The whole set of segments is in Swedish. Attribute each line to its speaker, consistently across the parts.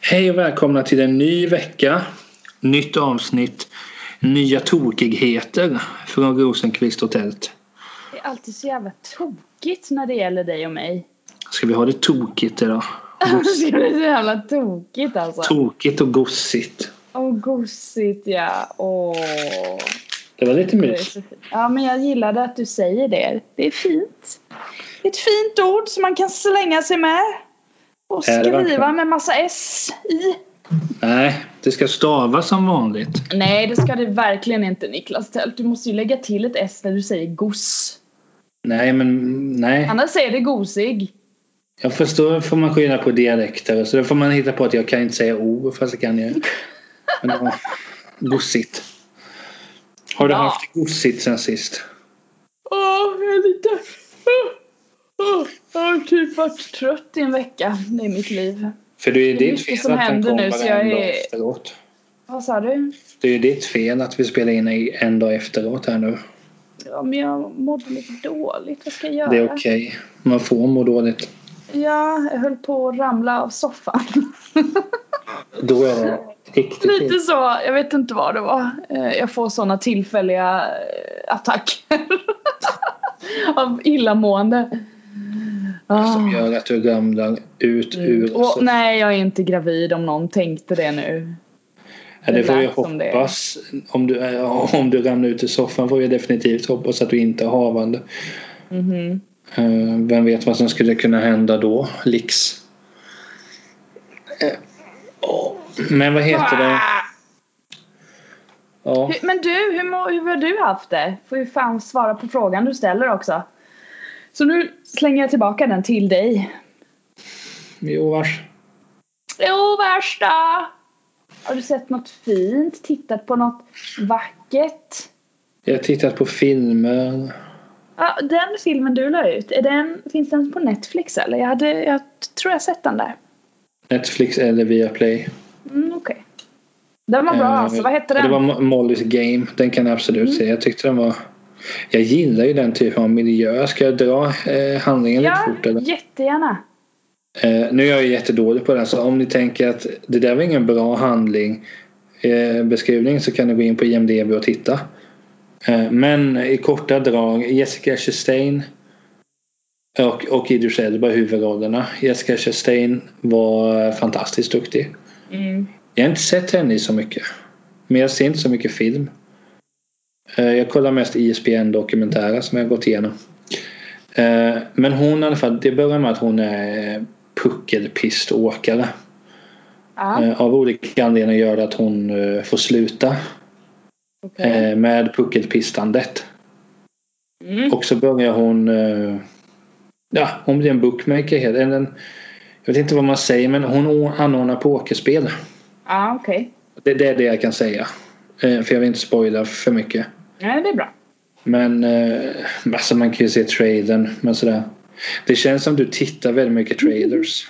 Speaker 1: Hej och välkomna till en ny vecka. Nytt avsnitt. Nya tokigheter från Rosenqvist och Tält.
Speaker 2: Det är alltid så jävla tokigt när det gäller dig och mig.
Speaker 1: Ska vi ha det tokigt idag?
Speaker 2: Alltså, det är så jävla tokigt alltså.
Speaker 1: Tokigt och gossigt.
Speaker 2: Åh, gosigt ja. Åh.
Speaker 1: Det var lite
Speaker 2: Det är
Speaker 1: mys.
Speaker 2: så fint. Ja, men jag gillade att du säger det. Det är fint. Det är ett fint ord som man kan slänga sig med. Och
Speaker 1: Är det
Speaker 2: skriva
Speaker 1: verkligen?
Speaker 2: med massa S i.
Speaker 1: Nej, det ska stavas som vanligt.
Speaker 2: Nej, det ska det verkligen inte Niklas Tält. Du måste ju lägga till ett S när du säger goss.
Speaker 1: Nej, men nej.
Speaker 2: Annars säger det gosig.
Speaker 1: Jag förstår får man skilja på dialekter. Så då får man hitta på att jag kan inte säga O, fast det kan jag. Men ja, gossigt. Har du
Speaker 2: Ja.
Speaker 1: haft gossigt sen sist?
Speaker 2: Åh, jag är lite... Åh, åh, jag har typ varit trött i en vecka. Det är mitt liv.
Speaker 1: För det är ju
Speaker 2: Det är
Speaker 1: ditt
Speaker 2: mycket
Speaker 1: fel
Speaker 2: som
Speaker 1: att den
Speaker 2: händer
Speaker 1: kom
Speaker 2: nu, så jag
Speaker 1: bara en dag
Speaker 2: är-
Speaker 1: efteråt.
Speaker 2: Vad sa du?
Speaker 1: Det är ju ditt fel att vi spelar in i- en dag efteråt här nu.
Speaker 2: Ja, men jag mådde lite dåligt. Vad ska jag göra?
Speaker 1: Det är okej. Man får må dåligt.
Speaker 2: Ja, jag höll på att ramla av soffan.
Speaker 1: Då är det riktigt
Speaker 2: lite så. Jag vet inte vad det var. Eh, Jag får sådana tillfälliga eh, attacker. av illamående. Ah.
Speaker 1: som gör att du ramlar ut ur
Speaker 2: Mm. Och,
Speaker 1: så-
Speaker 2: nej, jag är inte gravid om någon tänkte det nu.
Speaker 1: Ja, det får vi
Speaker 2: lät som det.
Speaker 1: hoppas. Om du, ja, om du ramlar ut ur soffan får vi definitivt hoppas att du inte är havande.
Speaker 2: Mhm.
Speaker 1: Eh, Vem vet vad som skulle kunna hända då? Lix. Eh, åh. Men vad heter det?
Speaker 2: Ah!
Speaker 1: Ja,
Speaker 2: Hur- Men du, hur, mår- hur har du haft det? Får ju fan svara på frågan du ställer också. Så nu slänger jag tillbaka den till dig.
Speaker 1: jo vars.
Speaker 2: Jo, värsta! Har du sett något fint? Tittat på något vackert?
Speaker 1: Jag har tittat på filmer.
Speaker 2: Ja, den filmen du la ut, är den, finns den på Netflix eller? Jag, hade, jag tror jag sett den där.
Speaker 1: Netflix eller Viaplay.
Speaker 2: Mm, Okej. Den var bra
Speaker 1: Eh,
Speaker 2: alltså. Vad hette den? Mm.
Speaker 1: Det var Mo- Molly's Game. Den kan jag absolut se. Jag tyckte den var... Jag gillar ju den typen av miljö. Ska jag dra eh, handlingen
Speaker 2: ja,
Speaker 1: lite fort eller?
Speaker 2: jättegärna.
Speaker 1: Eh, nu är jag ju jättedålig på den så om ni tänker att det där var ingen bra handling eh, beskrivning så kan ni gå in på IMDB och titta. Eh, men i korta drag Jessica Chastain och, och Idris Elba i huvudrollerna. Jessica Chastain var eh, fantastiskt duktig.
Speaker 2: Mm.
Speaker 1: Jag har inte sett henne i så mycket. Men jag ser inte så mycket film. Eh, Jag kollar mest ISBN-dokumentärer som jag har gått igenom. Eh, Men hon i alla fall, det börjar med att hon är eh, puckelpiståkare.
Speaker 2: Ja,
Speaker 1: Eh, Av olika anledningar gör det att hon eh, får sluta
Speaker 2: okej.
Speaker 1: eh, med puckelpistandet.
Speaker 2: Mm.
Speaker 1: Och så börjar hon... eh, Ja, hon blir en bookmaker. helt- en- en- Jag vet inte vad man säger men hon o- anordnar pokerspel.
Speaker 2: Ja, okej.
Speaker 1: Det, det är det jag kan säga. Eh, För jag vill inte spoila för mycket.
Speaker 2: Nej, det är bra.
Speaker 1: Men eh, alltså man kan ju se trailern. Men sådär. Det känns som du tittar väldigt mycket trailers.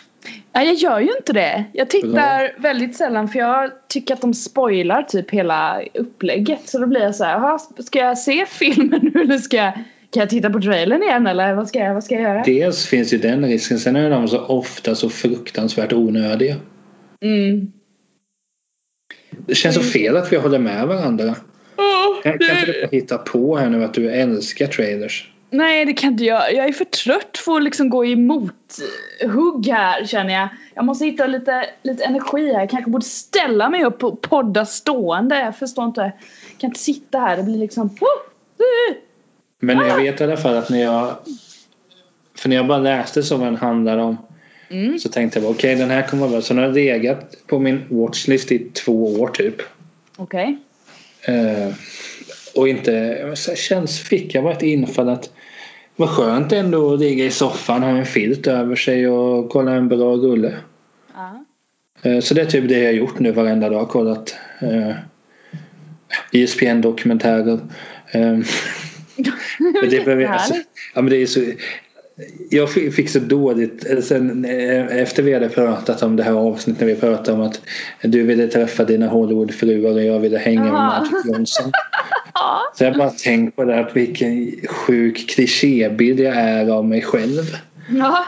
Speaker 2: Nej, jag gör ju inte det. Jag tittar väldigt sällan för jag tycker att de spoilar typ hela upplägget. Så då blir jag så här, "Jaha, ska jag se filmen nu eller ska jag, kan jag titta på trailern igen eller vad ska jag, vad ska jag göra?
Speaker 1: Dels finns ju den risken. Sen är de så ofta så fruktansvärt onödiga.
Speaker 2: Mm.
Speaker 1: Det känns så fel att vi håller med varandra.
Speaker 2: Åh,
Speaker 1: Kan, kan inte
Speaker 2: det,
Speaker 1: du hitta på här nu att du älskar trailers?
Speaker 2: nej, det kan inte jag. Jag är för trött för att liksom gå emot eh, hugg här känner jag. Jag måste hitta lite, lite energi här. Jag kanske borde ställa mig upp och podda stående. Jag förstår inte. Jag kan inte sitta här. Det blir liksom... "Woo!
Speaker 1: Men jag vet i alla fall att när jag... För när jag bara läste så vad den handlade om.
Speaker 2: Mm.
Speaker 1: Så tänkte jag bara, okej den här kommer vara bra. Så den har legat på min watchlist i två år typ.
Speaker 2: Okej.
Speaker 1: Eh, och inte... Så här känns, fick jag bara ett infall att vad skönt ändå att ligga i soffan, ha en filt över sig och kolla en bra rulle.
Speaker 2: Ja.
Speaker 1: Eh, så det är typ det jag har gjort nu varenda dag. Kollat eh, E ISPN-dokumentärer. Eh, men det behöver, alltså,
Speaker 2: Jättehärligt.
Speaker 1: ja, men det är så, jag fick fick så dåligt, eller sen, eh, efter vi hade pratat om det här avsnittet när vi pratade om att du ville träffa dina Hollywoodfruar och jag ville hänga med
Speaker 2: Jaha.
Speaker 1: Magic Johnson.
Speaker 2: Ja.
Speaker 1: Så jag bara tänkt på det här, att vilken sjuk klichébild jag är av mig själv.
Speaker 2: Ja.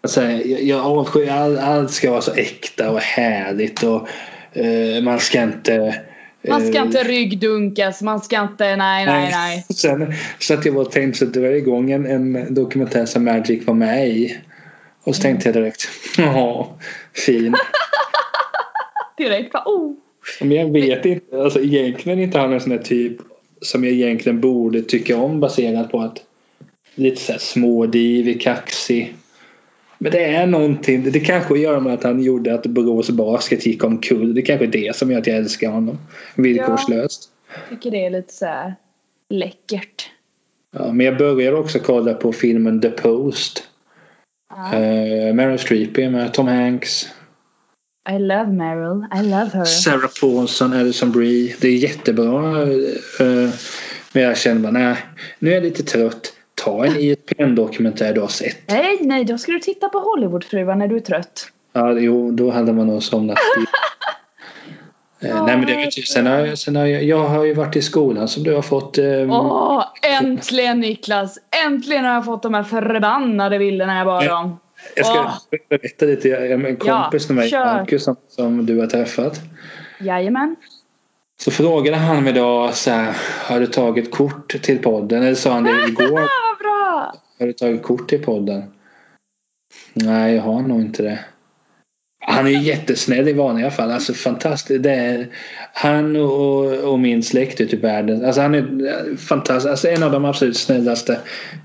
Speaker 1: Alltså, jag, jag avskyr, all, allt ska vara så äkta och härligt och eh, man ska inte... eh,
Speaker 2: Man ska inte ryggdunkas, man ska inte, nej, nej, nej.
Speaker 1: Sen satt jag bara och tänkte att det var igång en, en dokumentär som Magic var med i. Och så tänkte jag direkt, ja, fin.
Speaker 2: Direkt bara, oh.
Speaker 1: Men jag vet inte, alltså egentligen inte han en sån där typ som jag egentligen borde tycka om baserat på att lite såhär smådivig, kaxig. Men det är någonting, det- det kanske gör med att han gjorde att Borås Basket gick omkull. Det kanske är det som gör att jag älskar honom. Villkorslöst.
Speaker 2: tycker det är lite så här läckert.
Speaker 1: Ja, men jag började också kolla på filmen The Post.
Speaker 2: Ja.
Speaker 1: Uh, Meryl Streep är med, Tom Hanks,
Speaker 2: I love Meryl, I love her.
Speaker 1: Sarah Paulson, Alison Brie. Det är jättebra. eh, men jag känner bara, nej, nu är jag lite trött. Ta en E ISPN-dokumentär du har sett.
Speaker 2: Nej, nej, då ska du titta på Hollywoodfruar när du är trött.
Speaker 1: Ja, jo, då hade man nog somnat. Eh, nej, men det är ju typ, sen har, jag- sen har jag, jag har ju varit i skolan som du har fått. ehm,
Speaker 2: Åh, äntligen Niklas! Äntligen har jag fått de här förbannade bilderna jag bad om.
Speaker 1: jag ska
Speaker 2: åh.
Speaker 1: berätta lite. Jag har en
Speaker 2: Ja,
Speaker 1: kompis med mig,
Speaker 2: kör.
Speaker 1: Marcus, som, som du har träffat.
Speaker 2: Jajamän.
Speaker 1: Så frågade han mig då så här, har du tagit kort till podden? Eller sa han det igår,
Speaker 2: Ah, vad bra!
Speaker 1: har du tagit kort till podden? Nej, jag har nog inte det. Han är ju jättesnäll i vanliga fall. Alltså fantastiskt. Det är, han och, och min släkt ute i världen. Alltså han är fantastisk. Alltså en av de absolut snällaste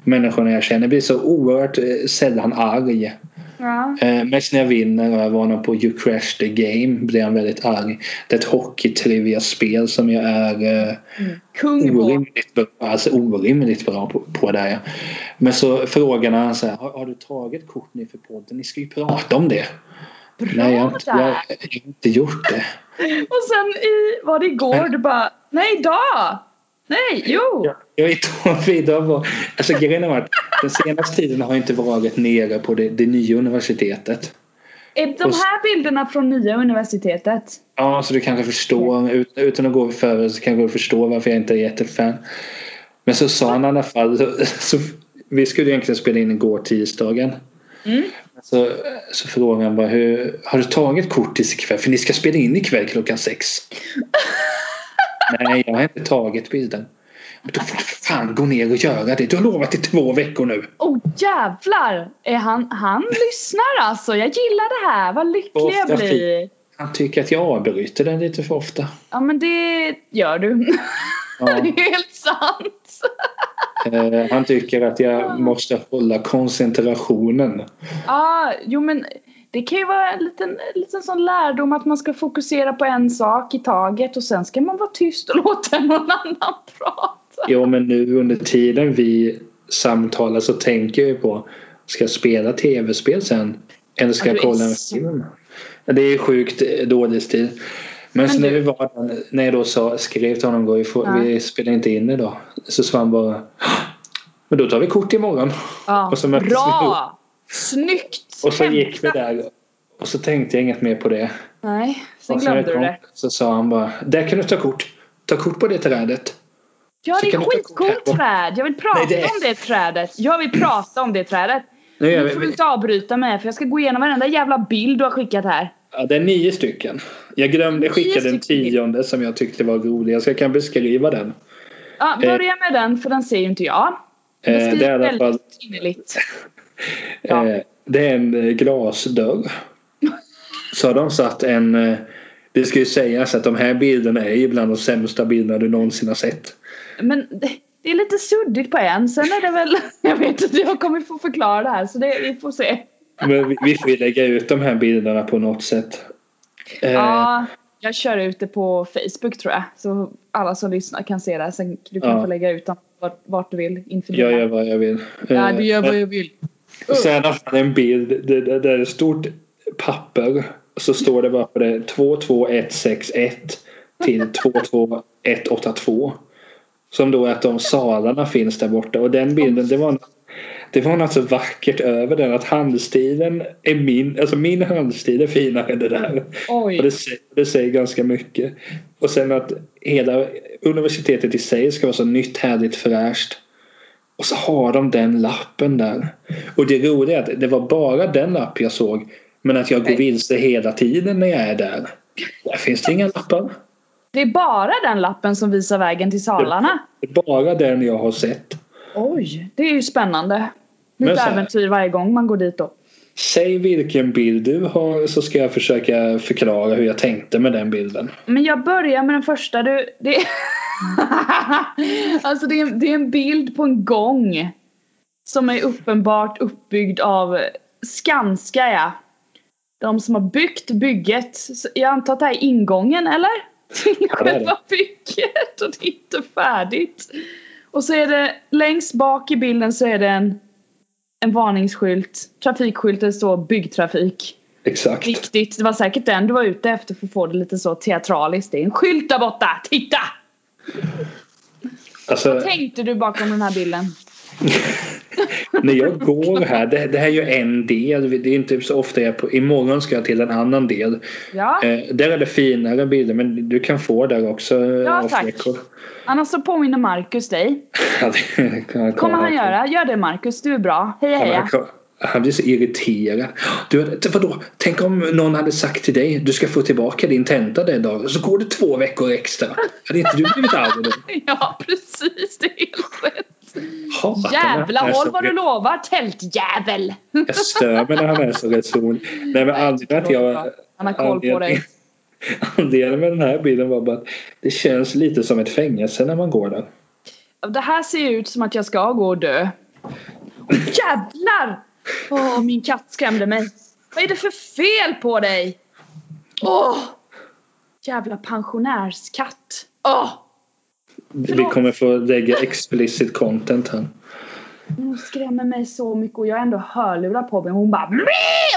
Speaker 1: människorna jag känner. Jag blir så oerhört eh, sällan arg.
Speaker 2: Ja.
Speaker 1: Eh, mest när jag vinner och jag var på You Crash the Game blir han väldigt arg. Det är ett hockeytrivia-spel som jag är eh,
Speaker 2: Kung på.
Speaker 1: orimligt bra, alltså orimligt bra på, på där. Ja. Men så frågade han så här, har, har du tagit kort nu för podden? Ni ska ju prata om det. Nej, jag, har inte- jag, jag
Speaker 2: där.
Speaker 1: har inte gjort det.
Speaker 2: Och sen i, var det igår, du bara, nej idag! Nej, jo!
Speaker 1: Jag, jag vet inte vidare var, alltså grejen har varit, den senaste tiden har jag inte varit nere på det, det nya universitetet.
Speaker 2: Är Eh, de här bilderna från nya universitetet?
Speaker 1: Ja, så du kanske förstår. Ut, utan att gå för så kanske du förstår varför jag inte är jättefan. Men så sa han i alla fall. Så, så, vi skulle egentligen spela in igår tisdagen.
Speaker 2: Mm.
Speaker 1: Så, så frågade han bara hur, har du tagit kort tills ikväll? För ni ska spela in ikväll klockan sex. Nej, jag har inte tagit bilden. Men då får du för fan gå ner och göra det. Du har lovat i två veckor nu.
Speaker 2: Oh jävlar! Är han, han lyssnar alltså. Jag gillar det här. Vad lycklig jag
Speaker 1: Ofta
Speaker 2: blir.
Speaker 1: Han tycker att jag avbryter den lite för ofta.
Speaker 2: Ja men det gör du.
Speaker 1: Ja.
Speaker 2: det är helt sant.
Speaker 1: Eh, han tycker att jag måste hålla koncentrationen.
Speaker 2: Ja, jo men det kan ju vara en liten, en liten sån lärdom att man ska fokusera på en sak i taget och sen ska man vara tyst och låta någon annan prata.
Speaker 1: Jo men nu under tiden vi samtalar så tänker jag ju på Ska jag spela tv-spel sen? Eller ska jag
Speaker 2: Ja, du är
Speaker 1: kolla en
Speaker 2: så-
Speaker 1: film? Ja, Det är sjukt eh, dålig stil. Men, så
Speaker 2: Men
Speaker 1: när
Speaker 2: du-
Speaker 1: vi var där, när jag då sa, skrev till honom igår, vi, får,
Speaker 2: Ja.
Speaker 1: vi spelar inte in idag. Så sa han bara Men då tar vi kort imorgon.
Speaker 2: Ja,
Speaker 1: Och så möttes vi
Speaker 2: bra! Snyggt!
Speaker 1: Och så gick vi
Speaker 2: Hämta-
Speaker 1: där. Och så tänkte jag inget mer på det.
Speaker 2: Nej, sen
Speaker 1: Och sen när
Speaker 2: glömde
Speaker 1: jag
Speaker 2: du
Speaker 1: kom,
Speaker 2: det.
Speaker 1: så sa han bara Där kan du ta kort. Ta kort på det trädet.
Speaker 2: Ja,
Speaker 1: Så
Speaker 2: det är
Speaker 1: kan du ta
Speaker 2: skitcoolt
Speaker 1: kort
Speaker 2: träd. Jag vill prata
Speaker 1: Nej, det är-
Speaker 2: om det trädet. Jag vill prata om det trädet.
Speaker 1: Nu gör
Speaker 2: Nu får du
Speaker 1: vi,
Speaker 2: inte avbryta mig för jag ska gå igenom varenda jävla bild du har skickat här.
Speaker 1: Ja, det är nio stycken. Jag glömde skicka
Speaker 2: Nio
Speaker 1: den
Speaker 2: stycken.
Speaker 1: tionde som jag tyckte var rolig. Jag ska- jag kan beskriva den.
Speaker 2: Ja, börja med den för den ser ju inte jag. Den
Speaker 1: Eh, det
Speaker 2: skriver
Speaker 1: är i alla fall
Speaker 2: väldigt innerligt. Ja.
Speaker 1: eh, det är en eh, glasdörr. Så har de satt en... eh, Det ska ju sägas att de här bilderna är ju bland de sämsta bilderna du någonsin har sett.
Speaker 2: Men det- det är lite suddigt på en. Sen är det väl... Jag vet inte, jag kommer få förklara det här så det, vi får
Speaker 1: Eh.
Speaker 2: se.
Speaker 1: Men vi- vi får ju lägga ut de här bilderna på något sätt. Eh,
Speaker 2: Ja, jag kör ut det på Facebook tror jag. Så alla som lyssnar kan se det. Sen du kan
Speaker 1: Ja.
Speaker 2: få lägga ut dem vart, vart du vill inför
Speaker 1: Jag
Speaker 2: dina-
Speaker 1: gör vad jag vill.
Speaker 2: Ja, du gör
Speaker 1: Eh,
Speaker 2: vad jag vill.
Speaker 1: Och sen har han en bild där där- där det är ett stort papper. Och så står det bara på det 22161 till 22182. Som då är att de salarna finns där borta. Och den bilden, det var, det var något så vackert över den. Att handstilen är min, alltså min handstil är finare än det där. Och
Speaker 2: Oj.
Speaker 1: det, sä- det säger ganska mycket. Och sen att hela universitetet i sig ska vara så nytt, härligt, fräscht. Och så har de den lappen där. Och det roliga är att det var bara den lapp jag såg. Men att jag går
Speaker 2: Nej.
Speaker 1: vilse hela tiden när jag är där. Där finns det inga lappar.
Speaker 2: Det är bara den lappen som visar vägen till salarna.
Speaker 1: Det är bara den jag har sett.
Speaker 2: Oj, det är ju spännande.
Speaker 1: Men
Speaker 2: Lite
Speaker 1: så här-
Speaker 2: äventyr varje gång man går dit då.
Speaker 1: Säg vilken bild du har så ska jag försöka förklara hur jag tänkte med den bilden.
Speaker 2: Men jag börjar med den första du. Det är... alltså det är, det är en bild på en gång. Som är uppenbart uppbyggd av Skanska ja. De som har byggt bygget. Så jag antar att det här är ingången eller? Till
Speaker 1: Ja, det är det.
Speaker 2: själva bygget och det är inte färdigt. Och så är det längst bak i bilden så är det en, en varningsskylt. Trafikskylt där det står byggtrafik.
Speaker 1: Exakt.
Speaker 2: Viktigt. Det var säkert den du var ute efter för att få det lite så teatraliskt. Det är en skylt där borta! Titta!
Speaker 1: Alltså,
Speaker 2: Tänkte du bakom den här bilden?
Speaker 1: när jag går här, det, det här är ju en del. Det är inte så ofta jag... På, imorgon ska jag till en annan del.
Speaker 2: Ja.
Speaker 1: Eh, där är det finare bilder men du kan få där också. eh,
Speaker 2: Ja, tack.
Speaker 1: Record.
Speaker 2: Annars så påminner Marcus dig.
Speaker 1: Ja, det kan jag
Speaker 2: kommer
Speaker 1: kolla
Speaker 2: han
Speaker 1: på.
Speaker 2: göra. Gör det Marcus, du är bra. Heja
Speaker 1: Ja, men
Speaker 2: heja.
Speaker 1: han kom- Han blir så irriterad. Du, t- vadå? Tänk om någon hade sagt till dig du ska få tillbaka din tenta den dagen så går det två veckor extra. Hade inte du blivit arg då?
Speaker 2: Ja precis, det är helt rätt.
Speaker 1: Hatar när han
Speaker 2: Jävla
Speaker 1: är
Speaker 2: håll
Speaker 1: så
Speaker 2: vad du
Speaker 1: re-
Speaker 2: lovar tältjävel!
Speaker 1: Jag stör mig när han är så resonlig. Nej men anledningen att jag...
Speaker 2: Han har koll på dig.
Speaker 1: Anledningen med den här bilden var bara att det känns lite som ett fängelse när man går där.
Speaker 2: Det här ser ju ut som att jag ska gå och dö. Åh, jävlar! Åh, min katt skrämde mig. Vad är det för fel på dig? Åh! Jävla pensionärskatt. Åh!
Speaker 1: Vi
Speaker 2: Förlåt.
Speaker 1: kommer få lägga explicit content här.
Speaker 2: Hon skrämmer mig så mycket och jag har ändå hörlurar på mig. Hon bara "Meh!"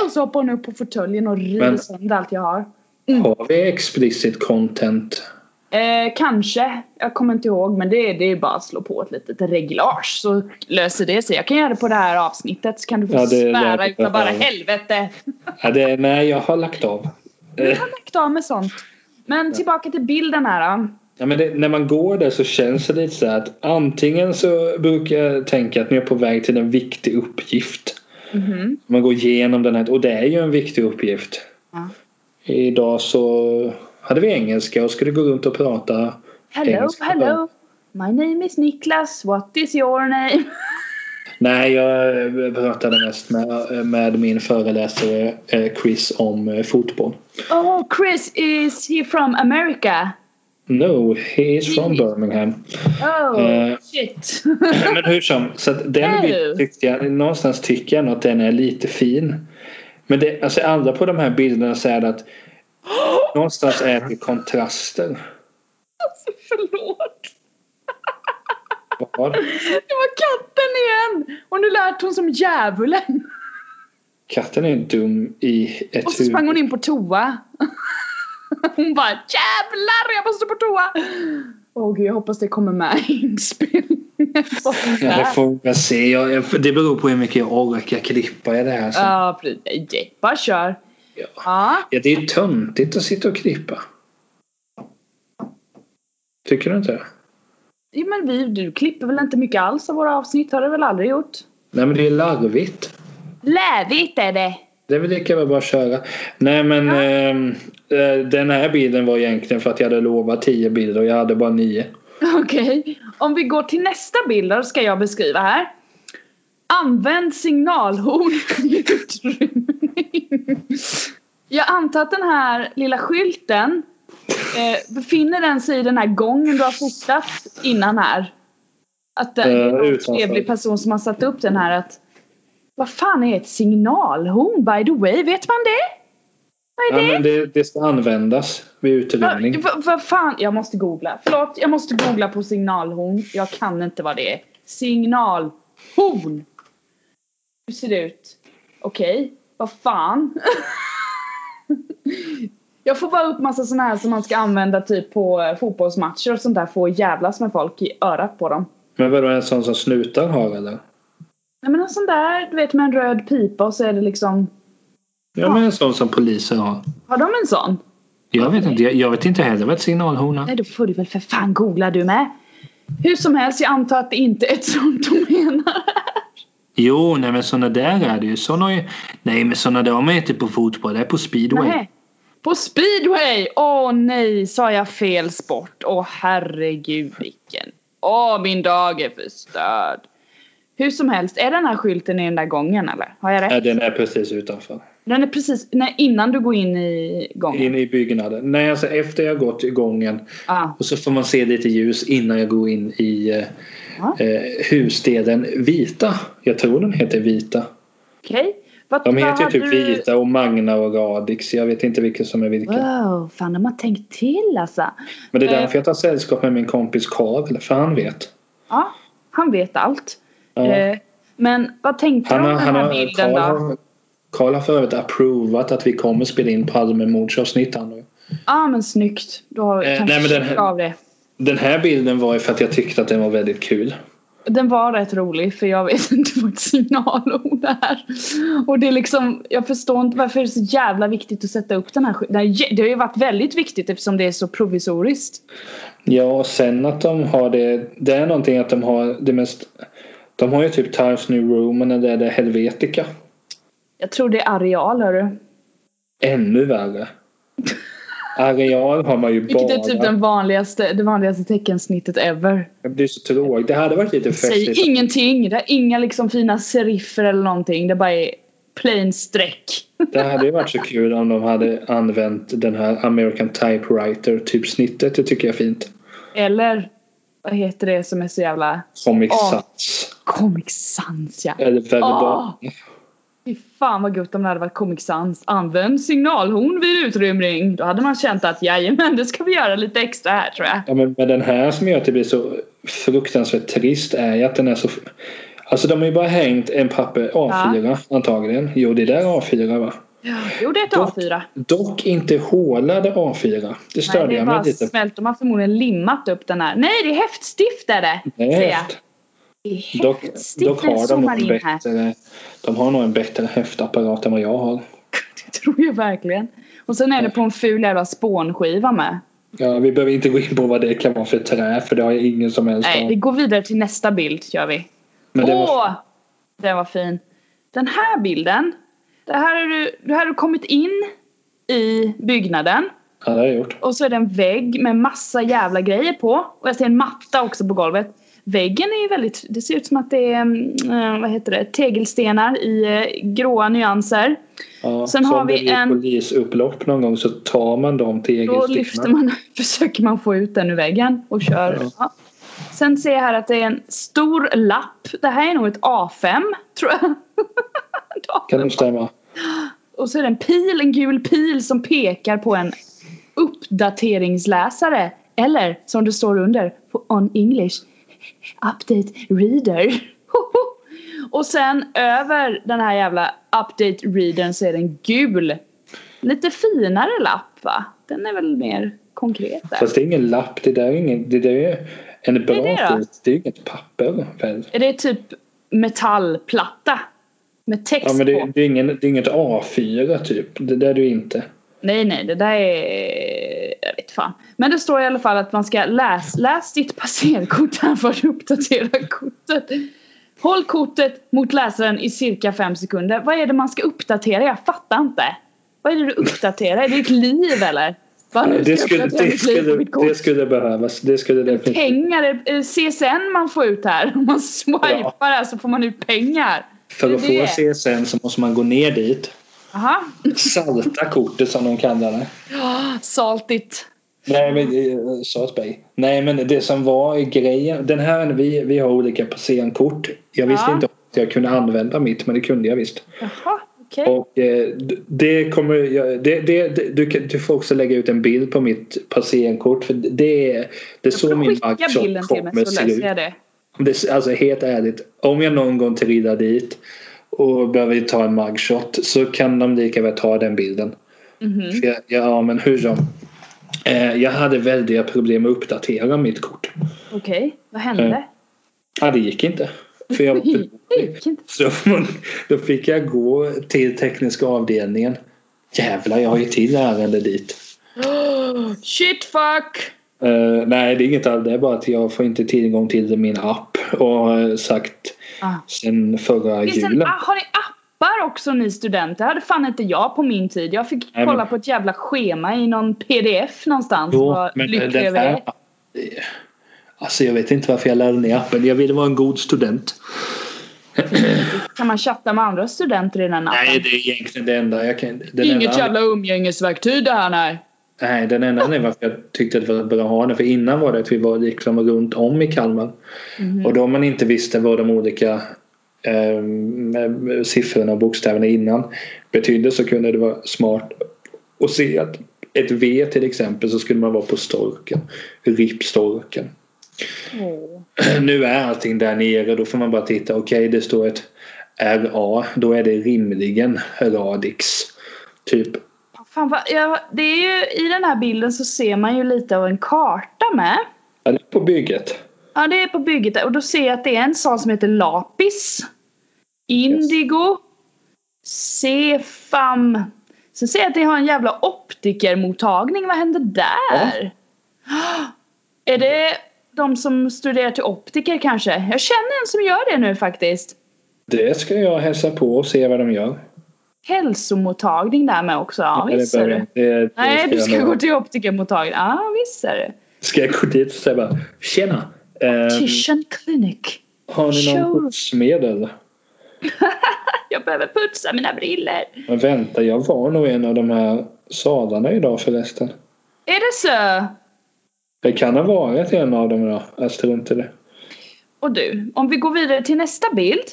Speaker 2: och så hoppar hon upp på fåtöljen och river
Speaker 1: Men-
Speaker 2: sönder allt jag har.
Speaker 1: Har vi explicit content?
Speaker 2: Eh, kanske. Jag kommer inte ihåg men det, det är bara att slå på ett litet reglage så löser det sig. Jag kan göra det på det här avsnittet så kan du få
Speaker 1: Ja, det- det-
Speaker 2: svära
Speaker 1: det-
Speaker 2: utan bara
Speaker 1: det-
Speaker 2: helvete.
Speaker 1: Ja, det är, nej, jag har lagt av. Eh.
Speaker 2: Jag har lagt av med sånt. Men tillbaka till bilden här då.
Speaker 1: Ja, men det, när man går där så känns det lite så här att antingen så brukar jag tänka att man är på väg till en viktig uppgift.
Speaker 2: Mhm.
Speaker 1: Man går igenom den här och det är ju en viktig uppgift.
Speaker 2: Ja.
Speaker 1: Idag så hade vi engelska och skulle gå runt och prata
Speaker 2: Hello,
Speaker 1: engelska.
Speaker 2: hello. My name is Niklas. What is your name?
Speaker 1: Nej, jag eh, pratade mest med, med min föreläsare eh, Chris om eh, fotboll.
Speaker 2: Oh, Chris, is he from America?
Speaker 1: No, he is from Birmingham.
Speaker 2: Oh,
Speaker 1: Eh.
Speaker 2: shit.
Speaker 1: Men hur som, så att den
Speaker 2: Ew.
Speaker 1: bilden tyckte jag, någonstans tycker jag nog att den är lite fin. Men det, alltså alla på de här bilderna säger att någonstans är det kontraster.
Speaker 2: alltså, förlåt.
Speaker 1: Var?
Speaker 2: Det var katten igen! Och nu lät hon som djävulen.
Speaker 1: Katten är ju dum i
Speaker 2: Och
Speaker 1: ett
Speaker 2: så
Speaker 1: huvud.
Speaker 2: sprang hon in på toa. Hon bara jävlar jag måste på toa! Åh gud jag hoppas det kommer med i inspelningen.
Speaker 1: Ja, det får jag se. Jag, jag, det beror på hur mycket jag orkar klippa i det här. Så.
Speaker 2: Ja, precis. Nej, Bara kör.
Speaker 1: Ja.
Speaker 2: Ja.
Speaker 1: Ja, det är ju töntigt att sitta och klippa. Tycker du inte det?
Speaker 2: Jo, men vi, du klipper väl inte mycket alls av våra avsnitt? Har du väl aldrig gjort?
Speaker 1: Nej men det är larvigt.
Speaker 2: Lävigt är det!
Speaker 1: Det är väl lika bra bara att köra. Nej men
Speaker 2: Ja.
Speaker 1: ehm, eh, den här bilden var egentligen för att jag hade lovat 10 bilder och jag hade bara 9.
Speaker 2: Okej. Om vi går till nästa bild då ska jag beskriva här. Använd signalhorn i utrymning. Jag antar att den här lilla skylten eh, befinner den sig i den här gången du har fotat innan här. Att det det
Speaker 1: Eh,
Speaker 2: är någon
Speaker 1: utanför.
Speaker 2: trevlig person som har satt upp den här att vad fan är ett signalhorn by the way? Vet man det?
Speaker 1: Ja,
Speaker 2: Vad är det?
Speaker 1: men det, det ska användas vid utrymning.
Speaker 2: Vad vad fan, jag måste googla. Förlåt, jag måste googla på signalhorn. Jag kan inte vad det är. Signalhorn! Hur ser det ut? Okej, vad fan. jag får bara upp massa såna här som man ska använda typ på eh, fotbollsmatcher och sånt där för att jävlas med folk i örat på dem.
Speaker 1: Men vadå en sån som snutar har eller?
Speaker 2: Nej men en sån där, du vet med en röd pipa och så är det liksom...
Speaker 1: Ja men en sån som poliser har.
Speaker 2: Har de en sån?
Speaker 1: Jag vet inte, jag, jag vet inte heller vad ett signalhorn är.
Speaker 2: Nej då får du väl för fan googla du med. Hur som helst, jag antar att det inte är ett sånt de menar.
Speaker 1: Jo, nej men såna där är det ju. Såna, är ju- nej men såna där mäter på fotboll. Det är på speedway.
Speaker 2: Nej. På speedway! Åh nej, sa jag fel sport? Åh herregud vilken. Åh, min dag är förstörd. Hur som helst, är den här skylten i den där gången eller? Har jag rätt?
Speaker 1: Ja, den är precis utanför.
Speaker 2: Den är precis nej, innan du går in i gången.
Speaker 1: Inne i byggnaden. Nej, alltså efter jag gått i gången
Speaker 2: Ah.
Speaker 1: och så får man se lite ljus innan jag går in i eh,
Speaker 2: Ja.
Speaker 1: eh, husdelen Vita. Jag tror den heter Vita.
Speaker 2: Okej. Vad-
Speaker 1: De
Speaker 2: vad
Speaker 1: heter ju
Speaker 2: hade
Speaker 1: typ Vita och Magna och Radix. Jag vet inte vilken som är vilken.
Speaker 2: Wow, fan de har tänkt till alltså.
Speaker 1: Men det är
Speaker 2: Eh.
Speaker 1: därför jag tar sällskap med min kompis Karl, för han vet.
Speaker 2: Ja, han vet allt.
Speaker 1: Ja.
Speaker 2: Eh, men vad tänkte
Speaker 1: Han
Speaker 2: du
Speaker 1: har,
Speaker 2: om den
Speaker 1: han
Speaker 2: här
Speaker 1: har,
Speaker 2: bilden
Speaker 1: Karl,
Speaker 2: då?
Speaker 1: har, Karl har för övrigt approvat att vi kommer spela in Palmemordsavsnitt här nu.
Speaker 2: Ja ah, men snyggt. Du har
Speaker 1: Eh,
Speaker 2: kanske
Speaker 1: nej, men den-
Speaker 2: checkat av det.
Speaker 1: Den här bilden var ju för att jag tyckte att den var väldigt kul.
Speaker 2: Den var rätt rolig för jag vet inte vad ett signalord är. Och det är liksom, jag förstår inte varför det är så jävla viktigt att sätta upp den här sk- den här jä- Det har ju varit väldigt viktigt eftersom det är så provisoriskt.
Speaker 1: Ja, och sen att de har det. Det är någonting att de har det mest. De har ju typ Times New Roman eller det där Helvetica.
Speaker 2: Jag tror det är areal hörru.
Speaker 1: Ännu värre. Areal har man ju
Speaker 2: Vilket är typ
Speaker 1: bara.
Speaker 2: den vanligaste, det vanligaste teckensnittet ever.
Speaker 1: Jag blir så tråkig. Det hade varit lite festligt.
Speaker 2: Säg ingenting. Det är inga liksom fina seriffer eller någonting. Det bara är plain streck.
Speaker 1: Det hade ju varit så kul om de hade använt den här American Typewriter typsnittet. Det tycker jag är fint.
Speaker 2: Eller vad heter det som är så jävla
Speaker 1: Comic
Speaker 2: Ja.
Speaker 1: Sans.
Speaker 2: Comic Sans ja.
Speaker 1: Eller verbal.
Speaker 2: Ah. Fy fan vad gott om det hade varit Comic Sans. Använd signalhorn vid utrymning. Då hade man känt att jajamän det ska vi göra lite extra här tror jag.
Speaker 1: Ja, men med den här som gör att det blir så fruktansvärt trist är ju att den är så... Alltså de har ju bara hängt en papper A4 antagligen. Jo, det där är A4 va?
Speaker 2: Jo det är ett
Speaker 1: Dock-
Speaker 2: A4.
Speaker 1: Dock inte hålade A4. Det
Speaker 2: Nej
Speaker 1: störde
Speaker 2: det är
Speaker 1: jag mig
Speaker 2: bara
Speaker 1: lite på.
Speaker 2: smält. De har förmodligen limmat upp den här. Nej det är häftstift är det. ser jag.
Speaker 1: Häft.
Speaker 2: Det är
Speaker 1: Dock,
Speaker 2: häftstift
Speaker 1: dock har de
Speaker 2: zoomar
Speaker 1: nog en
Speaker 2: in här.
Speaker 1: bättre... De har nog en bättre häftapparat än vad jag har.
Speaker 2: Det tror jag verkligen. Och sen är det på en ful jävla spånskiva med.
Speaker 1: Ja, vi behöver inte gå in på vad det kan vara för trä för det har jag ingen som helst
Speaker 2: Nej, vi
Speaker 1: aning
Speaker 2: går vidare till nästa bild gör vi.
Speaker 1: Men det
Speaker 2: Åh!
Speaker 1: var...
Speaker 2: Den var fin. Den här bilden. Det här har du, det här har du kommit in i byggnaden.
Speaker 1: Ja, det har jag gjort.
Speaker 2: Och så är det en vägg med massa jävla grejer på. Och jag ser en matta också på golvet. Väggen är ju väldigt, det ser ut som att det är, mm, vad heter det, tegelstenar i eh, gråa nyanser.
Speaker 1: Ja,
Speaker 2: Sen
Speaker 1: så
Speaker 2: har
Speaker 1: om
Speaker 2: vi
Speaker 1: det blir
Speaker 2: en-
Speaker 1: polisupplopp någon gång så tar man dem till
Speaker 2: Då
Speaker 1: egelstenarna.
Speaker 2: lyfter man, försöker man få ut den ur väggen och kör.
Speaker 1: Ja.
Speaker 2: Ja. Sen ser jag här att det är en stor lapp. Det här är nog ett A5 tror jag.
Speaker 1: Kan det stämma?
Speaker 2: Och så är det en pil, en gul pil som pekar på en uppdateringsläsare. Eller som det står under på On English Update Reader. Och sen över den här jävla Update Readern så är det en gul lite finare lapp va? Den är väl mer konkret där.
Speaker 1: Fast det är ingen lapp. Det där är, ingen, det där är en bra
Speaker 2: Vad är det då?
Speaker 1: bit. Det är ju inget papper väl?
Speaker 2: Är det typ metallplatta? Med text
Speaker 1: Ja, men
Speaker 2: på?
Speaker 1: det, det, är ingen, det är inget A4 typ. Det där är det ju inte.
Speaker 2: Nej, nej, det där är... Jag vet fan. Men det står i alla fall att man ska läs, läs ditt passerkort här för att uppdatera kortet. Håll kortet mot läsaren i cirka fem sekunder. Vad är det man ska uppdatera? Jag fattar inte. Vad är det du uppdaterar? Är det ditt liv eller? Vad nu ska
Speaker 1: Det
Speaker 2: jag
Speaker 1: skulle,
Speaker 2: uppdatera
Speaker 1: det,
Speaker 2: mitt liv på
Speaker 1: skulle,
Speaker 2: mitt kort?
Speaker 1: det skulle behövas. Det skulle definitivt.
Speaker 2: Pengar, eh, är är CSN man får ut här. Om man swipar här så får man ut pengar.
Speaker 1: För att
Speaker 2: det
Speaker 1: få
Speaker 2: är
Speaker 1: CSN så måste man gå ner dit.
Speaker 2: Aha. Ah,
Speaker 1: Salta kortet som de kallar det.
Speaker 2: Saltigt.
Speaker 1: Nej men eh, Salt Bay. Nej men det som var grejen. Den här, vi, vi har olika scenkort. Jag visste
Speaker 2: Ja.
Speaker 1: inte att jag kunde använda mitt men det kunde jag visst.
Speaker 2: Jaha, okej.
Speaker 1: Och eh, d- det kommer jag- det, det, det, du, kan- du får också lägga ut en bild på mitt passeringkort för det, är- det är
Speaker 2: Jag
Speaker 1: så
Speaker 2: får
Speaker 1: min
Speaker 2: skicka bilden
Speaker 1: backshop
Speaker 2: till
Speaker 1: kommer
Speaker 2: mig så
Speaker 1: se ut.
Speaker 2: läser jag det.
Speaker 1: Om Det, alltså helt ärligt, om jag någon gång trillar dit och behöver ta en mugshot så kan de lika väl ta den bilden.
Speaker 2: Mhm.
Speaker 1: För jag, ja men hur som. Eh, jag hade väldiga problem med att uppdatera mitt kort.
Speaker 2: Okej, vad
Speaker 1: Eh.
Speaker 2: hände?
Speaker 1: Ja, det gick inte. För jag var för dålig.
Speaker 2: Gick inte.
Speaker 1: Så då fick jag gå till tekniska avdelningen. Jävlar, jag har ju till ärende dit.
Speaker 2: Shit fuck!
Speaker 1: Eh, nej, det är inget av det. är bara att jag får inte tillgång till min app. Och har sagt
Speaker 2: Ah.
Speaker 1: sen förra
Speaker 2: Finns en,
Speaker 1: julen.
Speaker 2: ah, har ni appar också ni studenter? Det hade fan inte jag på min tid. Jag fick
Speaker 1: Nej, men-
Speaker 2: kolla på ett jävla schema i någon pdf någonstans. och
Speaker 1: Jo,
Speaker 2: vara
Speaker 1: men
Speaker 2: lycklig
Speaker 1: den
Speaker 2: över
Speaker 1: här
Speaker 2: det.
Speaker 1: Alltså jag vet inte varför jag laddade ner appen. Jag ville vara en god student.
Speaker 2: Kan man chatta med andra studenter i den appen?
Speaker 1: Nej, det är egentligen det enda jag kan... Den
Speaker 2: Inget
Speaker 1: enda,
Speaker 2: jävla umgängesverktyg det här nej.
Speaker 1: Nej, den enda anledningen varför jag tyckte att det var bra att ha den. För innan var det att vi var liksom runt om i Kalmar. Och då man inte visste vad de olika eh, siffrorna och bokstäverna innan betydde så kunde det vara smart att se att ett V till exempel så skulle man vara på storken. RIP-storken.
Speaker 2: Åh.
Speaker 1: nu är allting där nere. Då får man bara titta. Okej, det står ett RA. Då är det rimligen Radix. Typ.
Speaker 2: Fan, vad, ja, det är ju, I den här bilden så ser man ju lite av en karta med.
Speaker 1: Ja, det är på bygget.
Speaker 2: Ja, det är på bygget där. och då ser jag att det är en sal som heter Lapis. Indigo. Cefam. Sen ser jag att det har en jävla optikermottagning. Vad händer där? Är det de som studerar till optiker kanske? Jag känner en som gör det nu faktiskt.
Speaker 1: Det ska jag hälsa på och se vad de gör.
Speaker 2: Hälsomottagning där med också. Ja,
Speaker 1: Eller
Speaker 2: visst ser
Speaker 1: behöver
Speaker 2: du.
Speaker 1: jag- det- det
Speaker 2: Nej, du
Speaker 1: jag
Speaker 2: ska
Speaker 1: nog-
Speaker 2: gå till optikermottagningen. Ja, visst ser du.
Speaker 1: Ska jag gå dit och säga bara Tjena! ehm,
Speaker 2: Titian Clinic.
Speaker 1: har ni någon
Speaker 2: Sure.
Speaker 1: skyddsmedel?
Speaker 2: Jag behöver putsa mina briller.
Speaker 1: Men vänta, jag var nog i en av de här salarna idag förresten.
Speaker 2: Är det så?
Speaker 1: Det kan ha varit en av dem idag. Jag strunt i det.
Speaker 2: Och du, om vi går vidare till nästa bild.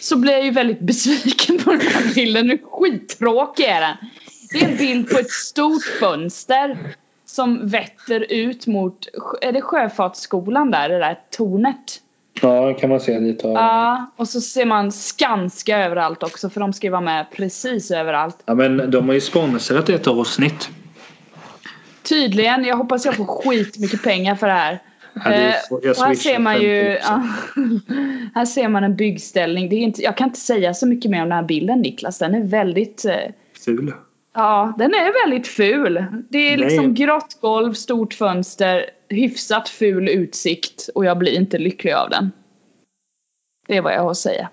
Speaker 2: Så blir jag ju väldigt besviken på den här bilden. Hur skittråkig är den? Det är en bild på ett stort fönster som vetter ut mot, är det Sjöfartsskolan där, det där tornet?
Speaker 1: Ja, det kan man se lite av.
Speaker 2: Ja, och så ser man Skanska överallt också för de ska ju vara med precis överallt.
Speaker 1: Ja, men de har ju sponsrat ett avsnitt.
Speaker 2: Tydligen, jag hoppas jag får skitmycket pengar för det här.
Speaker 1: Ja, det är
Speaker 2: Eh,
Speaker 1: så- jag
Speaker 2: och här
Speaker 1: swishar
Speaker 2: ser man ju
Speaker 1: 50
Speaker 2: Här ser man en byggställning. Det är inte, jag kan inte säga så mycket mer om den här bilden Niklas. Den är väldigt eh,
Speaker 1: Ful.
Speaker 2: Ja, den är väldigt ful. Det
Speaker 1: Nej.
Speaker 2: är liksom grått golv, stort fönster, hyfsat ful utsikt och jag blir inte lycklig av den. Det är vad jag har att säga.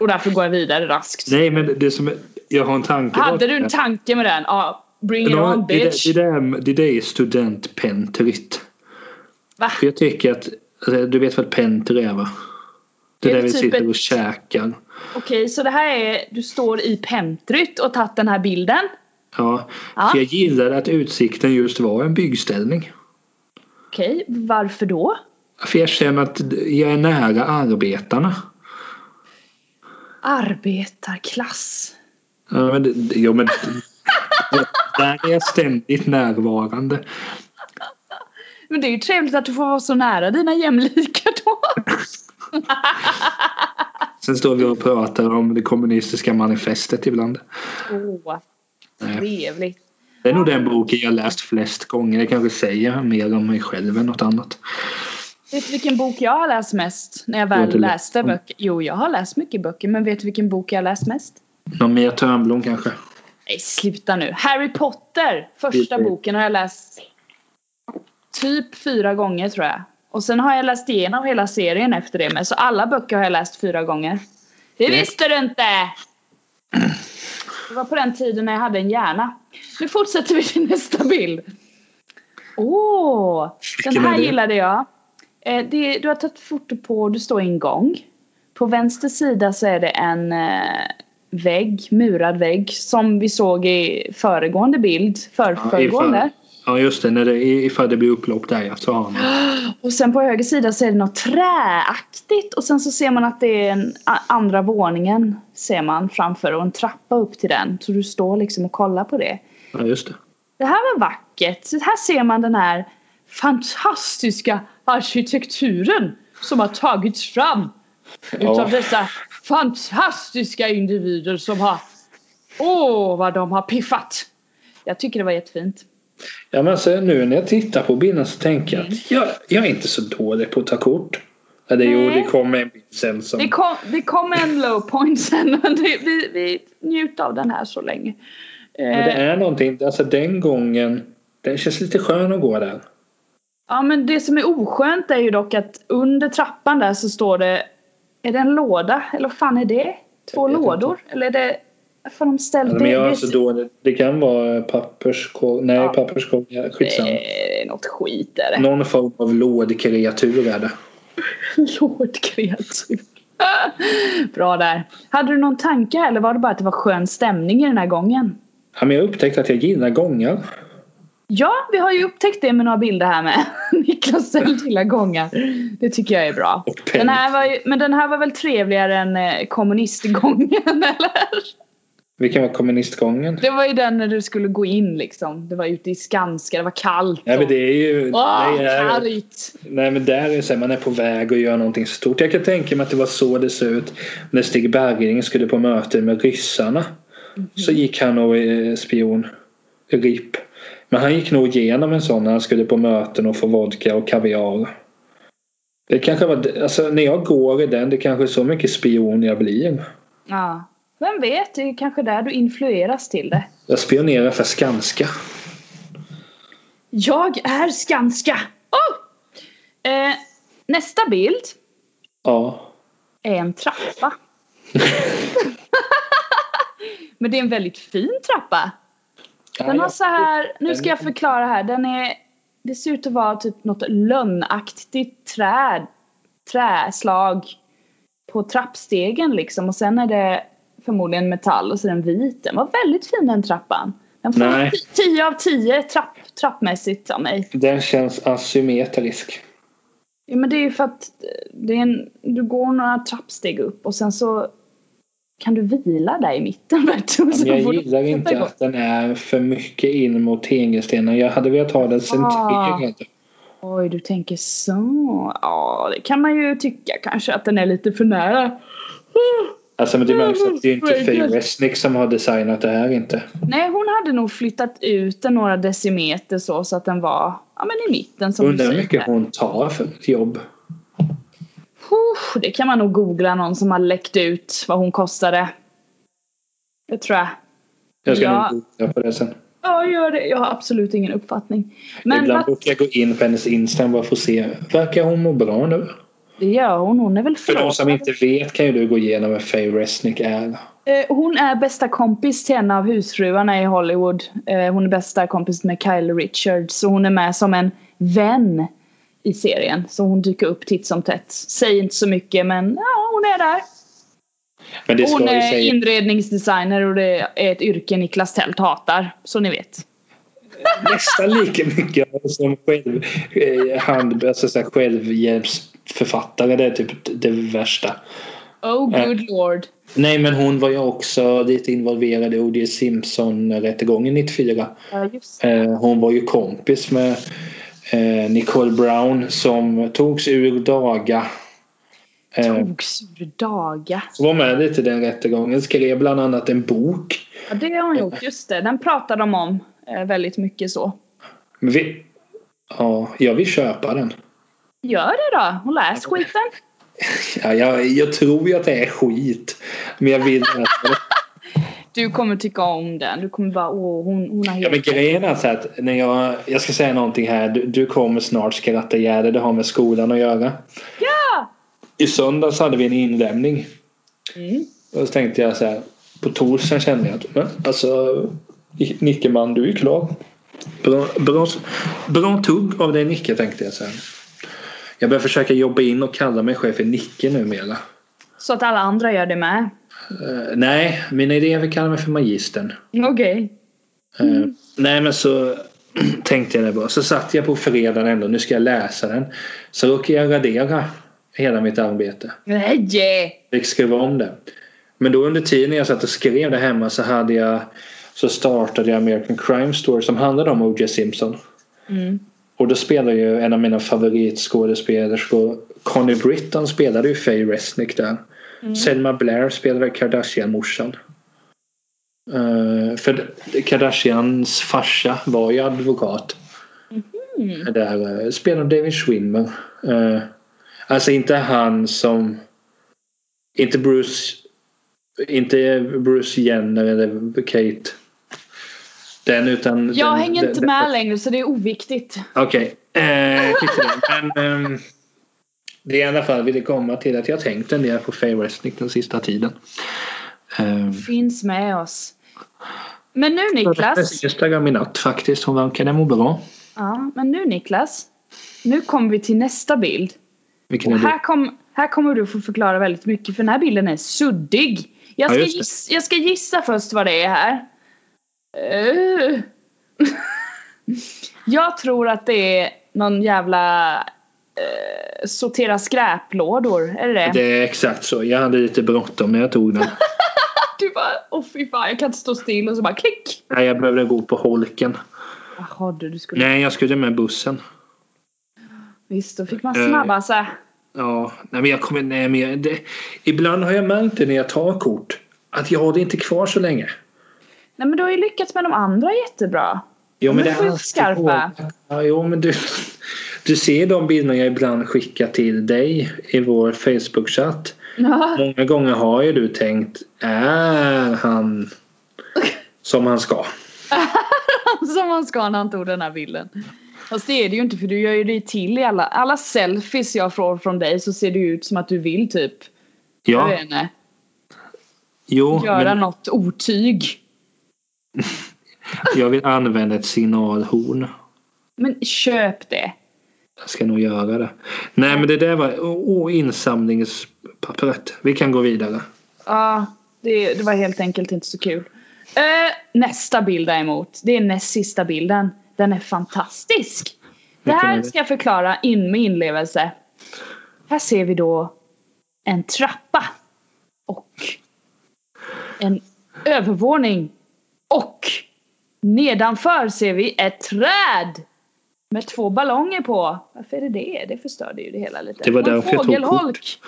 Speaker 2: Och därför går jag vidare raskt.
Speaker 1: Nej, men det som... är- Jag har en tanke.
Speaker 2: Hade
Speaker 1: bakom
Speaker 2: du en
Speaker 1: det.
Speaker 2: tanke med den? Ja, bring it
Speaker 1: Ja,
Speaker 2: on
Speaker 1: det,
Speaker 2: bitch.
Speaker 1: det, det, där, det där är studentpentryt.
Speaker 2: Va?
Speaker 1: För jag tycker att... alltså, Du vet vad pentry är va? Det
Speaker 2: Är
Speaker 1: där
Speaker 2: det
Speaker 1: vi
Speaker 2: typ
Speaker 1: sitter
Speaker 2: ett-
Speaker 1: och käkar.
Speaker 2: Okej, så det här är, du står i pentryt och tagit den här bilden.
Speaker 1: Ja.
Speaker 2: Ja.
Speaker 1: För jag gillade att utsikten just var en byggställning.
Speaker 2: Okej, varför då?
Speaker 1: För jag känner att jag är nära arbetarna.
Speaker 2: Arbetarklass.
Speaker 1: Ja, men, det- jo, men, där är jag ständigt närvarande.
Speaker 2: Men det är ju trevligt att du får vara så nära dina jämlikar då.
Speaker 1: Sen står vi och pratar om det kommunistiska manifestet ibland.
Speaker 2: Åh, trevligt.
Speaker 1: Det är nog den boken jag läst flest gånger. Det kanske säger mer om mig själv än något annat.
Speaker 2: Vet du vilken bok jag har läst mest? När jag väl
Speaker 1: har inte läst
Speaker 2: läste böcker. Jo, jag har läst mycket böcker. Men vet du vilken bok jag har läst mest?
Speaker 1: Någon mer Törnblom kanske?
Speaker 2: Nej, sluta nu. Harry Potter! Första
Speaker 1: Mm.
Speaker 2: boken har jag läst typ fyra gånger tror jag. Och sen har jag läst igenom hela serien efter det med. Så alla böcker har jag läst fyra gånger. Det
Speaker 1: Mm.
Speaker 2: visste du inte! Det var på den tiden när jag hade en hjärna. Nu fortsätter vi till nästa bild. Åh! den
Speaker 1: Vilken är
Speaker 2: här
Speaker 1: det?
Speaker 2: gillade jag. Eh, det, du har tagit foto på, du står i en gång. På vänster sida så är det en eh, vägg, murad vägg som vi såg i föregående bild. För, föregående.
Speaker 1: ifall, ja just det, när det, ifall det blir upplopp där ja, så har man.
Speaker 2: Och sen på höger sida så är det något träaktigt och sen så ser man att det är en a- andra våningen ser man framför och en trappa upp till den. Så du står liksom och kollar på det.
Speaker 1: Ja just det.
Speaker 2: Det här var vackert. Så här ser man den här fantastiska arkitekturen som har tagits fram
Speaker 1: Ja.
Speaker 2: utav dessa fantastiska individer som har... Åh, vad de har piffat! Jag tycker det var jättefint.
Speaker 1: Ja, men alltså, nu när jag tittar på bilden så tänker jag
Speaker 2: Mm.
Speaker 1: att jag, jag är inte så dålig på att ta kort. Eller jo,
Speaker 2: Nej.
Speaker 1: det kommer en bild sen som...
Speaker 2: Det kom, det kom en low point sen, men det, vi, vi njuter av den här så länge.
Speaker 1: Men det
Speaker 2: Eh,
Speaker 1: är någonting, alltså den gången Den känns lite skön att gå där.
Speaker 2: Ja men det som är oskönt är ju dock att under trappan där så står det Är det en låda? Eller vad fan är det? Två
Speaker 1: Jag vet
Speaker 2: lådor? Eller är det För de ställde
Speaker 1: Alltså, men jag
Speaker 2: det-
Speaker 1: är så dålig. Det kan vara papperskorg. Nej,
Speaker 2: Ja. Eh.
Speaker 1: papperskorg. Skitsamma.
Speaker 2: det är något skit är det.
Speaker 1: Någon form av lådkreatur är det.
Speaker 2: Lådkreatur. Bra där. Hade du någon tanke eller var det bara att det var skön stämning i den här gången?
Speaker 1: Ja, men jag upptäckte att jag gillar gångar.
Speaker 2: Ja, vi har ju upptäckt det med några bilder här med. Niklas Sells gillar gångar. Det tycker jag är bra.
Speaker 1: Och pälsar.
Speaker 2: Den här var ju, men den här var väl trevligare än eh, kommunistgången eller?
Speaker 1: Vilken var kommunistgången?
Speaker 2: Det var ju den när du skulle gå in liksom. Det var ute i Skanska, det var kallt.
Speaker 1: Nej men det
Speaker 2: och-
Speaker 1: är ju...
Speaker 2: Åh,
Speaker 1: nej, nej,
Speaker 2: kallt!
Speaker 1: nej men där är det så här, man är på väg att göra någonting stort. Jag kan tänka mig att det var så det såg ut när Stig Bergling skulle på möte med ryssarna.
Speaker 2: Mhm.
Speaker 1: Så gick han och eh, spion. RIP. Men han gick nog igenom en sån när han skulle på möten och få vodka och kaviar. Det kanske var... d- Alltså när jag går i den, det kanske är så mycket spion jag blir.
Speaker 2: Ja. Vem vet, det är kanske där du influeras till det.
Speaker 1: Jag spionerar för Skanska.
Speaker 2: Jag är Skanska! Oh! Eh, nästa bild
Speaker 1: Ja.
Speaker 2: är en trappa. Men det är en väldigt fin trappa. Den har så här, nu ska jag förklara här, den är, det ser ut att vara typ något lönnaktigt träd, träslag på trappstegen liksom och sen är det förmodligen metall och så är den vit. Den var väldigt fin den trappan. Den
Speaker 1: Nej.
Speaker 2: får 10 av 10 trapp, trappmässigt av mig.
Speaker 1: Den känns asymmetrisk.
Speaker 2: Ja, men det är ju för att eh, det är en, du går några trappsteg upp och sen så kan du vila där i mitten. vet du, och
Speaker 1: Men
Speaker 2: så får
Speaker 1: jag
Speaker 2: du
Speaker 1: gillar
Speaker 2: sätta
Speaker 1: inte
Speaker 2: igång.
Speaker 1: att den är för mycket in mot tegelstenen. Jag hade velat ha den
Speaker 2: Ah.
Speaker 1: centrerad.
Speaker 2: Oj, du tänker så. Ja, det kan man ju tycka kanske att den är lite för nära.
Speaker 1: Alltså men det märks att det är inte
Speaker 2: Oh my God.
Speaker 1: Fyresnik som har designat det här inte.
Speaker 2: Nej, hon hade nog flyttat ut den några decimeter så, så att den var ja, men i mitten som
Speaker 1: Undrar hur
Speaker 2: säger.
Speaker 1: mycket hon tar för ett jobb.
Speaker 2: Puh, Det kan man nog googla någon som har läckt ut vad hon kostade. Det tror jag.
Speaker 1: Jag ska
Speaker 2: Ja.
Speaker 1: nog googla på det sen.
Speaker 2: Ja, gör det. Jag har absolut ingen uppfattning. Men
Speaker 1: Ibland
Speaker 2: vad-
Speaker 1: brukar jag gå in på hennes Instagram bara för att se. Verkar hon må bra nu?
Speaker 2: det gör hon. Hon är väl
Speaker 1: För de som
Speaker 2: förlovad.
Speaker 1: inte vet kan ju du gå igenom vem Faye Resnick är.
Speaker 2: Eh, Hon är bästa kompis till en av husfruarna i Hollywood. Eh, Hon är bästa kompis med Kyle Richards. Så hon är med som en vän i serien. Så hon dyker upp titt som tätt. Säger inte så mycket men ja, hon är där.
Speaker 1: Men det
Speaker 2: Hon
Speaker 1: ska ju
Speaker 2: är
Speaker 1: säga.
Speaker 2: inredningsdesigner och det är ett yrke Niklas Tält hatar. Så ni vet.
Speaker 1: nästan lika mycket som själv, eh, hand, alltså så här självhjälpsförfattare. Det är typ det värsta.
Speaker 2: Oh
Speaker 1: Eh.
Speaker 2: good lord.
Speaker 1: Nej men hon var ju också lite involverad i O.J. Simpson-rättegången 94.
Speaker 2: Ja, just.
Speaker 1: Eh, hon var ju kompis med eh, Nicole Brown som togs ur daga. Eh,
Speaker 2: Togs ur daga.
Speaker 1: som var med lite i den rättegången. Skrev bland annat en bok.
Speaker 2: Ja, det har hon gjort. Just det. Den pratar de om eh, väldigt mycket så.
Speaker 1: Men vi, ja, jag vill köpa den.
Speaker 2: Gör det då. Hon läs skiten.
Speaker 1: Ja, jag, jag tror ju att det är skit. Men jag vill att
Speaker 2: Du kommer tycka om den. Du kommer bara åh hon, hon har
Speaker 1: Ja,
Speaker 2: helt...
Speaker 1: men grejen är så här att när jag, jag ska säga någonting här. Du, du kommer snart skratta ihjäl dig. Det har med skolan att göra.
Speaker 2: Ja!
Speaker 1: I söndags hade vi en inlämning.
Speaker 2: Mm.
Speaker 1: Och så tänkte jag så här. På torsdagen kände jag att men, alltså Nickeman du är ju klar. Bra, bra, bra tugg av dig Nicke tänkte jag så här. Jag börjar försöka jobba in och kalla mig själv för Nicke numera.
Speaker 2: Så att alla andra gör det med.
Speaker 1: Uh, nej, mina elever kallar mig för magistern.
Speaker 2: Okej.
Speaker 1: Eh, Nej men så tänkte jag det bara. Så satt jag på fredagen ändå. Nu ska jag läsa den. Så råkade jag radera hela mitt arbete.
Speaker 2: Nej!
Speaker 1: Fick skriva om det. Men då under tiden jag satt och skrev det hemma så hade jag så startade jag American Crime Story som handlade om O.J. Simpson.
Speaker 2: Mm.
Speaker 1: Och då spelade ju en av mina favoritskådespelerskor Connie Britton spelade ju Faye Resnick där.
Speaker 2: Mm.
Speaker 1: Selma Blair spelade Kardashian-morsan. Eh, för Kardashians farsa var ju advokat.
Speaker 2: Mhm.
Speaker 1: Där eh, spelade David Schwimmer. Eh, alltså inte han som... Inte Bruce... Inte Bruce Jenner eller Kate. den utan...
Speaker 2: Jag
Speaker 1: den,
Speaker 2: hänger
Speaker 1: den-
Speaker 2: inte
Speaker 1: den-
Speaker 2: med längre så det är oviktigt.
Speaker 1: Okej. Eh, skit i det. Men ehm, det är i alla fall ville komma till att jag har tänkt en del på Faye Resnick den sista tiden. Ehm,
Speaker 2: Finns med oss. Men nu Niklas.
Speaker 1: Instagram i natt faktiskt. Hon verkade må bra.
Speaker 2: Ja, men nu Niklas. Nu kommer vi till nästa bild.
Speaker 1: Vilken
Speaker 2: Och
Speaker 1: är
Speaker 2: här,
Speaker 1: det?
Speaker 2: kom, här kommer du få förklara väldigt mycket för den här bilden är suddig. Jag
Speaker 1: Ja,
Speaker 2: ska,
Speaker 1: just det.
Speaker 2: giss, jag ska gissa först vad det är här. Eh. jag tror att det är någon jävla eh, sortera skräplådor. Är det det?
Speaker 1: Det är exakt så. Jag hade lite bråttom när jag tog den.
Speaker 2: Du bara, åh fy fan jag kan inte stå still och så bara klick.
Speaker 1: Nej, jag behövde gå på holken.
Speaker 2: Jaha du, du skulle...
Speaker 1: Nej, jag skulle med bussen.
Speaker 2: Visst, då fick man
Speaker 1: Eh.
Speaker 2: snabba sig.
Speaker 1: Ja, nej men jag kommer... Nej, men jag, det, ibland har jag märkt det när jag tar kort. Att jag har det inte kvar så länge.
Speaker 2: Nej men du har ju lyckats med de andra jättebra.
Speaker 1: Jo,
Speaker 2: Men
Speaker 1: men det
Speaker 2: får
Speaker 1: är
Speaker 2: ju
Speaker 1: alltid
Speaker 2: skarpa.
Speaker 1: på. Ja, jo, men du, du ser de bilderna jag ibland skickar till dig i vår Facebook-chatt. Många gånger har ju du tänkt, är han som han ska?
Speaker 2: Som man ska när han tog den här bilden. Fast det är det ju inte för du gör ju dig till i alla, alla selfies jag får från dig så ser det ju ut som att du vill typ jag
Speaker 1: Ja,
Speaker 2: vet inte,
Speaker 1: jo,
Speaker 2: göra
Speaker 1: men
Speaker 2: något otyg.
Speaker 1: jag vill använda ett signalhorn.
Speaker 2: Men köp det.
Speaker 1: Jag ska nog göra det. Nej, men det där var oh, insamlingspappret. Vi kan gå vidare.
Speaker 2: Ja, det, det var helt enkelt inte så kul. Eh, nästa bild däremot, det är näst sista bilden. Den är fantastisk. Det
Speaker 1: Vilken är
Speaker 2: här
Speaker 1: det?
Speaker 2: ska jag förklara in med inlevelse. Här ser vi då en trappa och en övervåning och nedanför ser vi ett träd med två ballonger på. Varför är det det? Det förstörde ju det hela lite.
Speaker 1: Det var
Speaker 2: Och en
Speaker 1: därför jag tog kort.
Speaker 2: fågelholk.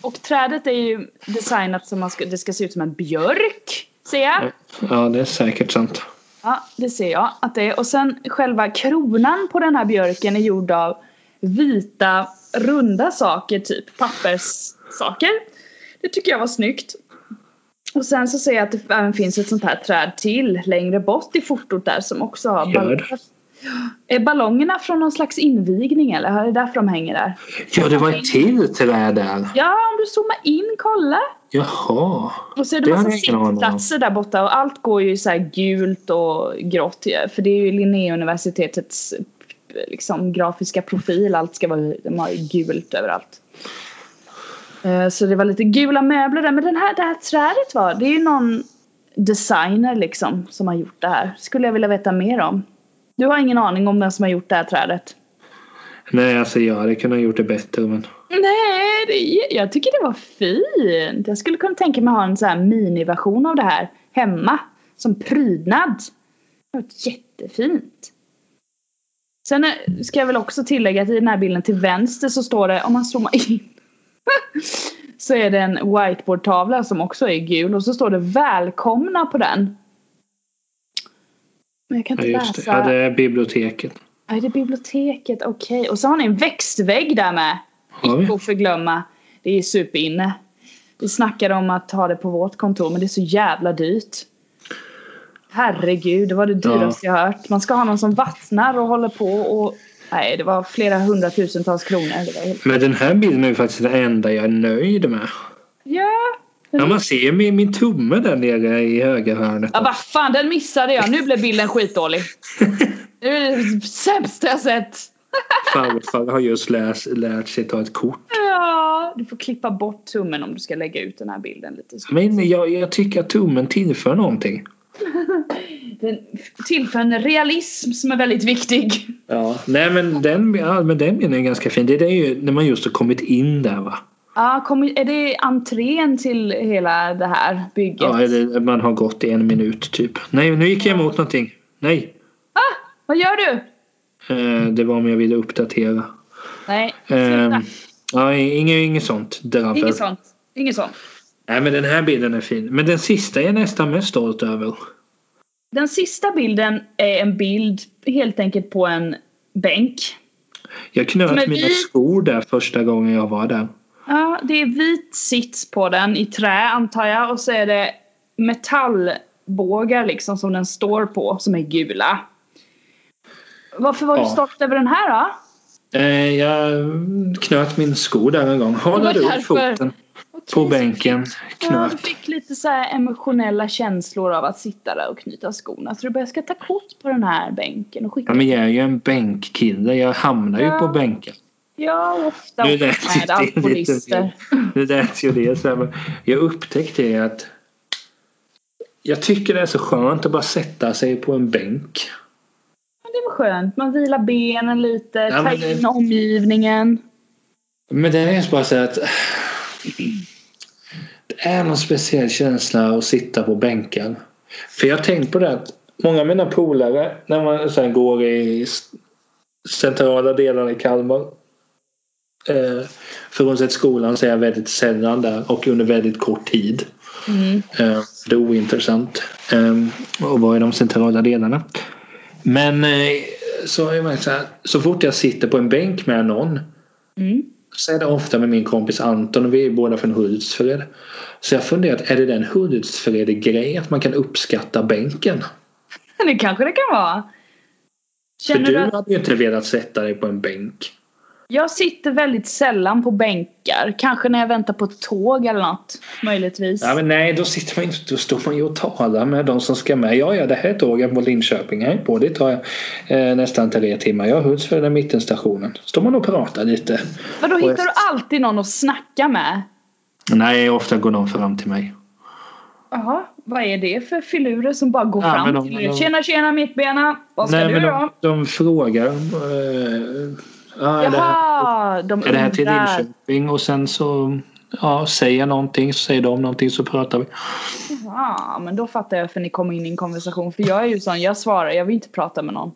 Speaker 2: Och trädet är ju designat som man ska, det ska se ut som en björk. Ser jag?
Speaker 1: Ja, det är säkert sant.
Speaker 2: Ja, det ser jag att det är. Och sen själva kronan på den här björken är gjord av vita runda saker, typ papperssaker. Det tycker jag var snyggt. Och sen så ser jag att det även finns ett sånt här träd till längre bort i fotot där som också har
Speaker 1: Gör.
Speaker 2: ballonger. Är ballongerna från någon slags invigning eller? Är det därför de hänger där?
Speaker 1: Ja, det var ett till träd där.
Speaker 2: Ja, om du zoomar in, kolla!
Speaker 1: Jaha.
Speaker 2: Och så är det,
Speaker 1: Det
Speaker 2: massa
Speaker 1: hade jag ingen aning om.
Speaker 2: sittplatser där borta och allt går ju så här gult och grått. ju, För det är ju Linnéuniversitetets eh, liksom, grafiska profil. Allt ska vara de har ju gult överallt. Eh, Så det var lite gula möbler där. Men den här, det här trädet var, det är ju någon designer liksom som har gjort det här. Skulle jag vilja veta mer om. Du har ingen aning om vem som har gjort det här trädet?
Speaker 1: Nej, alltså jag hade kunnat gjort det bättre. Men...
Speaker 2: Nej, det, jag tycker det var fint. Jag skulle kunna tänka mig att ha en sån här miniversion av det här hemma. Som prydnad. Det var jättefint. Sen eh, ska jag väl också tillägga att i den här bilden till vänster så står det, om man zoomar in. så är det en whiteboardtavla som också är gul och så står det välkomna på den. Men jag kan
Speaker 1: Ja,
Speaker 2: inte
Speaker 1: just det.
Speaker 2: läsa.
Speaker 1: Ja, det är biblioteket.
Speaker 2: Ja, det är biblioteket. Okej. Och så har ni en växtvägg där med.
Speaker 1: Har vi?
Speaker 2: Icke att förglömma. Det är superinne. Vi snackade om att ha det på vårt kontor men det är så jävla dyrt. Herregud, det var det
Speaker 1: Ja.
Speaker 2: dyraste jag hört. Man ska ha någon som vattnar och håller på och... Nej, det var flera hundratusentals kronor. Det var helt...
Speaker 1: Men den här bilden är ju faktiskt den enda jag är nöjd med.
Speaker 2: Ja.
Speaker 1: Ja, man ser ju min, min tumme där nere i högra hörnet.
Speaker 2: ja, vad fan, den missade jag. Nu blev bilden skitdålig. Nu är det sämsta jag sett.
Speaker 1: Farfar har just lärt, lärt sig ta ett kort.
Speaker 2: Ja, du får klippa bort tummen om du ska lägga ut den här bilden lite. Så.
Speaker 1: Men jag, jag tycker att tummen tillför någonting.
Speaker 2: Den tillför en realism som är väldigt viktig.
Speaker 1: Ja, nej men den, ja, men den bilden är ganska fin. Det är ju när man just har kommit in där va.
Speaker 2: Ja, kom, är det entrén till hela det här bygget?
Speaker 1: Ja, eller man har gått i en minut typ. Nej, nu gick jag emot någonting. Nej,
Speaker 2: Ah, Vad gör du?
Speaker 1: eh, det var om jag ville uppdatera.
Speaker 2: Nej,
Speaker 1: Eh,
Speaker 2: sluta.
Speaker 1: ja, inget, inget sånt dravel.
Speaker 2: Inget sånt. Inget sånt.
Speaker 1: Nej, men den här bilden är fin. Men den sista är jag nästan mest stolt över.
Speaker 2: Den sista bilden är en bild helt enkelt på en bänk.
Speaker 1: Jag knöt
Speaker 2: Men
Speaker 1: mina
Speaker 2: vi-
Speaker 1: skor där första gången jag var där.
Speaker 2: Ja, det är vit sits på den i trä antar jag och så är det metallband pilbågar liksom som den står på som är gula. Varför var du
Speaker 1: Ja.
Speaker 2: stolt över den här då?
Speaker 1: Eh, jag knöt min sko där en gång.
Speaker 2: Det var
Speaker 1: Håller du upp
Speaker 2: därför.
Speaker 1: foten på
Speaker 2: Okej, så
Speaker 1: bänken?
Speaker 2: Jag
Speaker 1: Knöt.
Speaker 2: fick lite så här emotionella känslor av att sitta där och knyta skorna. Så du bara, jag ska ta kort på den här bänken och skicka.
Speaker 1: Ja, men jag är ju en bänkkille. Jag hamnar ju
Speaker 2: Ja.
Speaker 1: på bänkar.
Speaker 2: Ja, ofta
Speaker 1: Nu lät det
Speaker 2: med
Speaker 1: lite
Speaker 2: alkoholister.
Speaker 1: fel. Nu lät ju det så här. men Jag upptäckte ju att jag tycker det är så skönt att bara sätta sig på en bänk.
Speaker 2: Men det var skönt. Man vilar benen lite,
Speaker 1: Ja,
Speaker 2: tar
Speaker 1: men det-
Speaker 2: in omgivningen.
Speaker 1: Men det är bara så här att det är någon speciell känsla att sitta på bänken. För jag har tänkt på det att många av mina polare när man sen går i s- centrala delarna i Kalmar. Eh, Frånsett skolan så är jag väldigt sällan där och under väldigt kort tid.
Speaker 2: Mm.
Speaker 1: Eh, Det är ointressant eh, att vara i de centrala delarna. Men eh, så, är man så, här, så fort jag sitter på en bänk med någon
Speaker 2: Mm.
Speaker 1: så är det ofta med min kompis Anton och vi är båda från Hultsfred. Så jag funderat, är det den Hultsfred-grej att man kan uppskatta bänken?
Speaker 2: Det kanske det kan vara. Känner
Speaker 1: För
Speaker 2: du
Speaker 1: du
Speaker 2: att
Speaker 1: hade ju inte velat sätta dig på en bänk.
Speaker 2: jag sitter väldigt sällan på bänkar. Kanske när jag väntar på ett tåg eller något. Möjligtvis.
Speaker 1: Ja, men nej, då sitter man inte, då står man ju och talar med de som ska med. Ja, ja, det här är tåget på Linköping. Hej på, det tar jag eh, nästan tre timmar. Jag har Hultsfred är mittenstationen. Står man och pratar lite.
Speaker 2: Vadå,
Speaker 1: Och
Speaker 2: hittar du alltid någon att snacka med?
Speaker 1: Nej, ofta går de fram till mig.
Speaker 2: Jaha, vad är det för filurer som bara går
Speaker 1: Ja, men
Speaker 2: fram
Speaker 1: de-
Speaker 2: till er?
Speaker 1: de-
Speaker 2: Tjena tjena mittbena! Vad ska
Speaker 1: Nej,
Speaker 2: du
Speaker 1: men de,
Speaker 2: då?
Speaker 1: de frågar. Eh, ja, är det här-
Speaker 2: Jaha, de
Speaker 1: Är det här till
Speaker 2: undrar.
Speaker 1: Linköping? Och sen så ja, säger jag någonting, så säger de någonting så pratar vi.
Speaker 2: Ja, men då fattar jag för ni kommer in i en konversation. För jag är ju sån, jag svarar, jag vill inte prata med någon.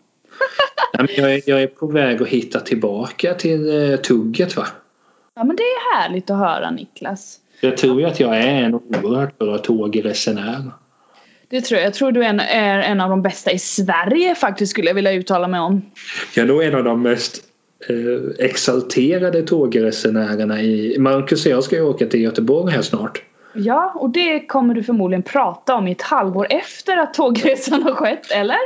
Speaker 1: Nej, men jag, är, jag är på väg att hitta tillbaka till eh, tugget va?
Speaker 2: Ja men det är härligt att höra Niklas.
Speaker 1: Jag tror ju att jag är en oerhört bra tågresenär.
Speaker 2: Det tror jag. Jag tror du är en, är en av de bästa i Sverige faktiskt skulle jag vilja uttala mig om.
Speaker 1: Jag är nog en av de mest eh, exalterade tågresenärerna i... Marcus och jag ska ju åka till Göteborg här snart.
Speaker 2: Ja, och det kommer du förmodligen prata om i ett halvår efter att tågresan har skett, eller?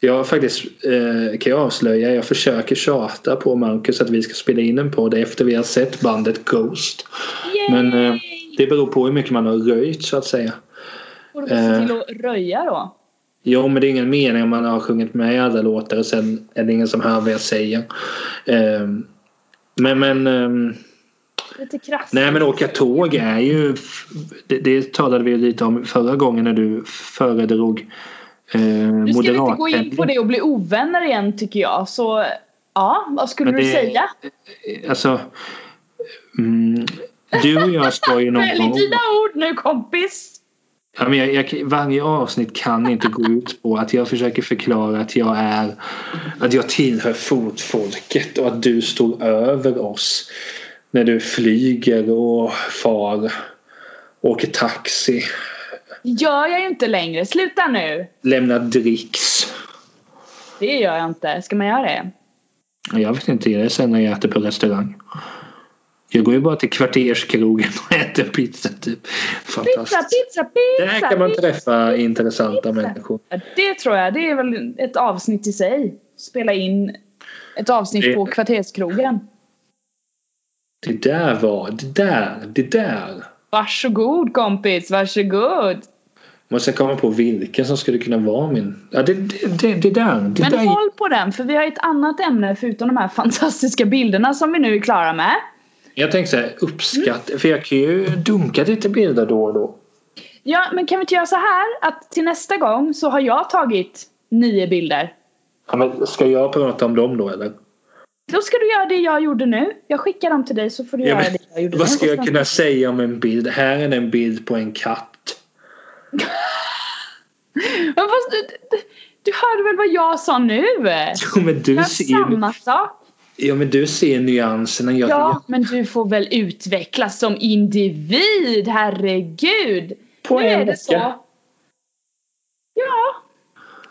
Speaker 1: Jag har faktiskt, eh, kan jag avslöja, jag försöker tjata på Marcus att vi ska spela in en podd efter vi har sett bandet Ghost.
Speaker 2: Yay!
Speaker 1: Men eh, det beror på hur mycket man har röjt så att säga.
Speaker 2: Borde vi se
Speaker 1: eh.
Speaker 2: till att röja då?
Speaker 1: Jo, men det är ingen mening om man har sjungit med i alla låtar och sen är det ingen som hör vad jag säger. Ehm, men, men, ehm,
Speaker 2: Lite krasst.
Speaker 1: nej, men åka tåg är ju... Det, det talade vi lite om förra gången när du föredrog eh,
Speaker 2: Nu ska vi inte gå in på
Speaker 1: moderatpendeln.
Speaker 2: det och bli ovänner igen tycker jag. Så ja, vad skulle
Speaker 1: Men
Speaker 2: du
Speaker 1: det-
Speaker 2: säga?
Speaker 1: Alltså, mm, du och jag ska ju någon
Speaker 2: Välj
Speaker 1: gång...
Speaker 2: dina ord nu kompis!
Speaker 1: Ja, men jag, jag, varje avsnitt kan inte gå ut på att jag försöker förklara att jag är att jag tillhör fotfolket och att du står över oss när du flyger och far åker taxi
Speaker 2: Det gör jag ju inte längre. Sluta nu!
Speaker 1: lämnar dricks
Speaker 2: Det gör jag inte. Ska man göra det?
Speaker 1: jag vet inte, det är sen när jag äter på restaurang jag går ju bara till kvarterskrogen och äter pizza typ
Speaker 2: Pizza,
Speaker 1: fantastiskt
Speaker 2: pizza, pizza!
Speaker 1: där kan man
Speaker 2: pizza.
Speaker 1: träffa intressanta
Speaker 2: pizza.
Speaker 1: människor
Speaker 2: Ja, Det tror jag. Det är väl ett avsnitt i sig. Spela in ett avsnitt
Speaker 1: Det-
Speaker 2: på kvarterskrogen.
Speaker 1: det där var, det där, det där
Speaker 2: Varsågod kompis, varsågod!
Speaker 1: Man ska komma på vilken som skulle kunna vara min. Ja, det, det, det, det där. Det
Speaker 2: Men
Speaker 1: där.
Speaker 2: håll på den för vi har ett annat ämne förutom de här fantastiska bilderna som vi nu är klara med.
Speaker 1: Jag tänkte så här, uppskatt. För jag kan ju dunka lite bilder då och då.
Speaker 2: Ja, men kan vi inte göra så här att till nästa gång så har jag tagit nio bilder.
Speaker 1: Ja, men ska jag prata om dem då eller?
Speaker 2: Då ska du göra det jag gjorde nu. Jag skickar dem till dig så får du
Speaker 1: Ja,
Speaker 2: göra
Speaker 1: men
Speaker 2: det jag gjorde nu.
Speaker 1: Vad ska
Speaker 2: Och sen-
Speaker 1: jag kunna säga om en bild? Här är en bild på en katt.
Speaker 2: Men fast, du, du, du hörde väl vad jag sa nu?
Speaker 1: Jo, men du
Speaker 2: Jag
Speaker 1: ser, ju-
Speaker 2: samma sak.
Speaker 1: ja, men du ser nyanserna. Jag,
Speaker 2: Ja, men du får väl utvecklas som individ, herregud!
Speaker 1: På
Speaker 2: nu
Speaker 1: en
Speaker 2: är det
Speaker 1: vecka.
Speaker 2: så. Ja.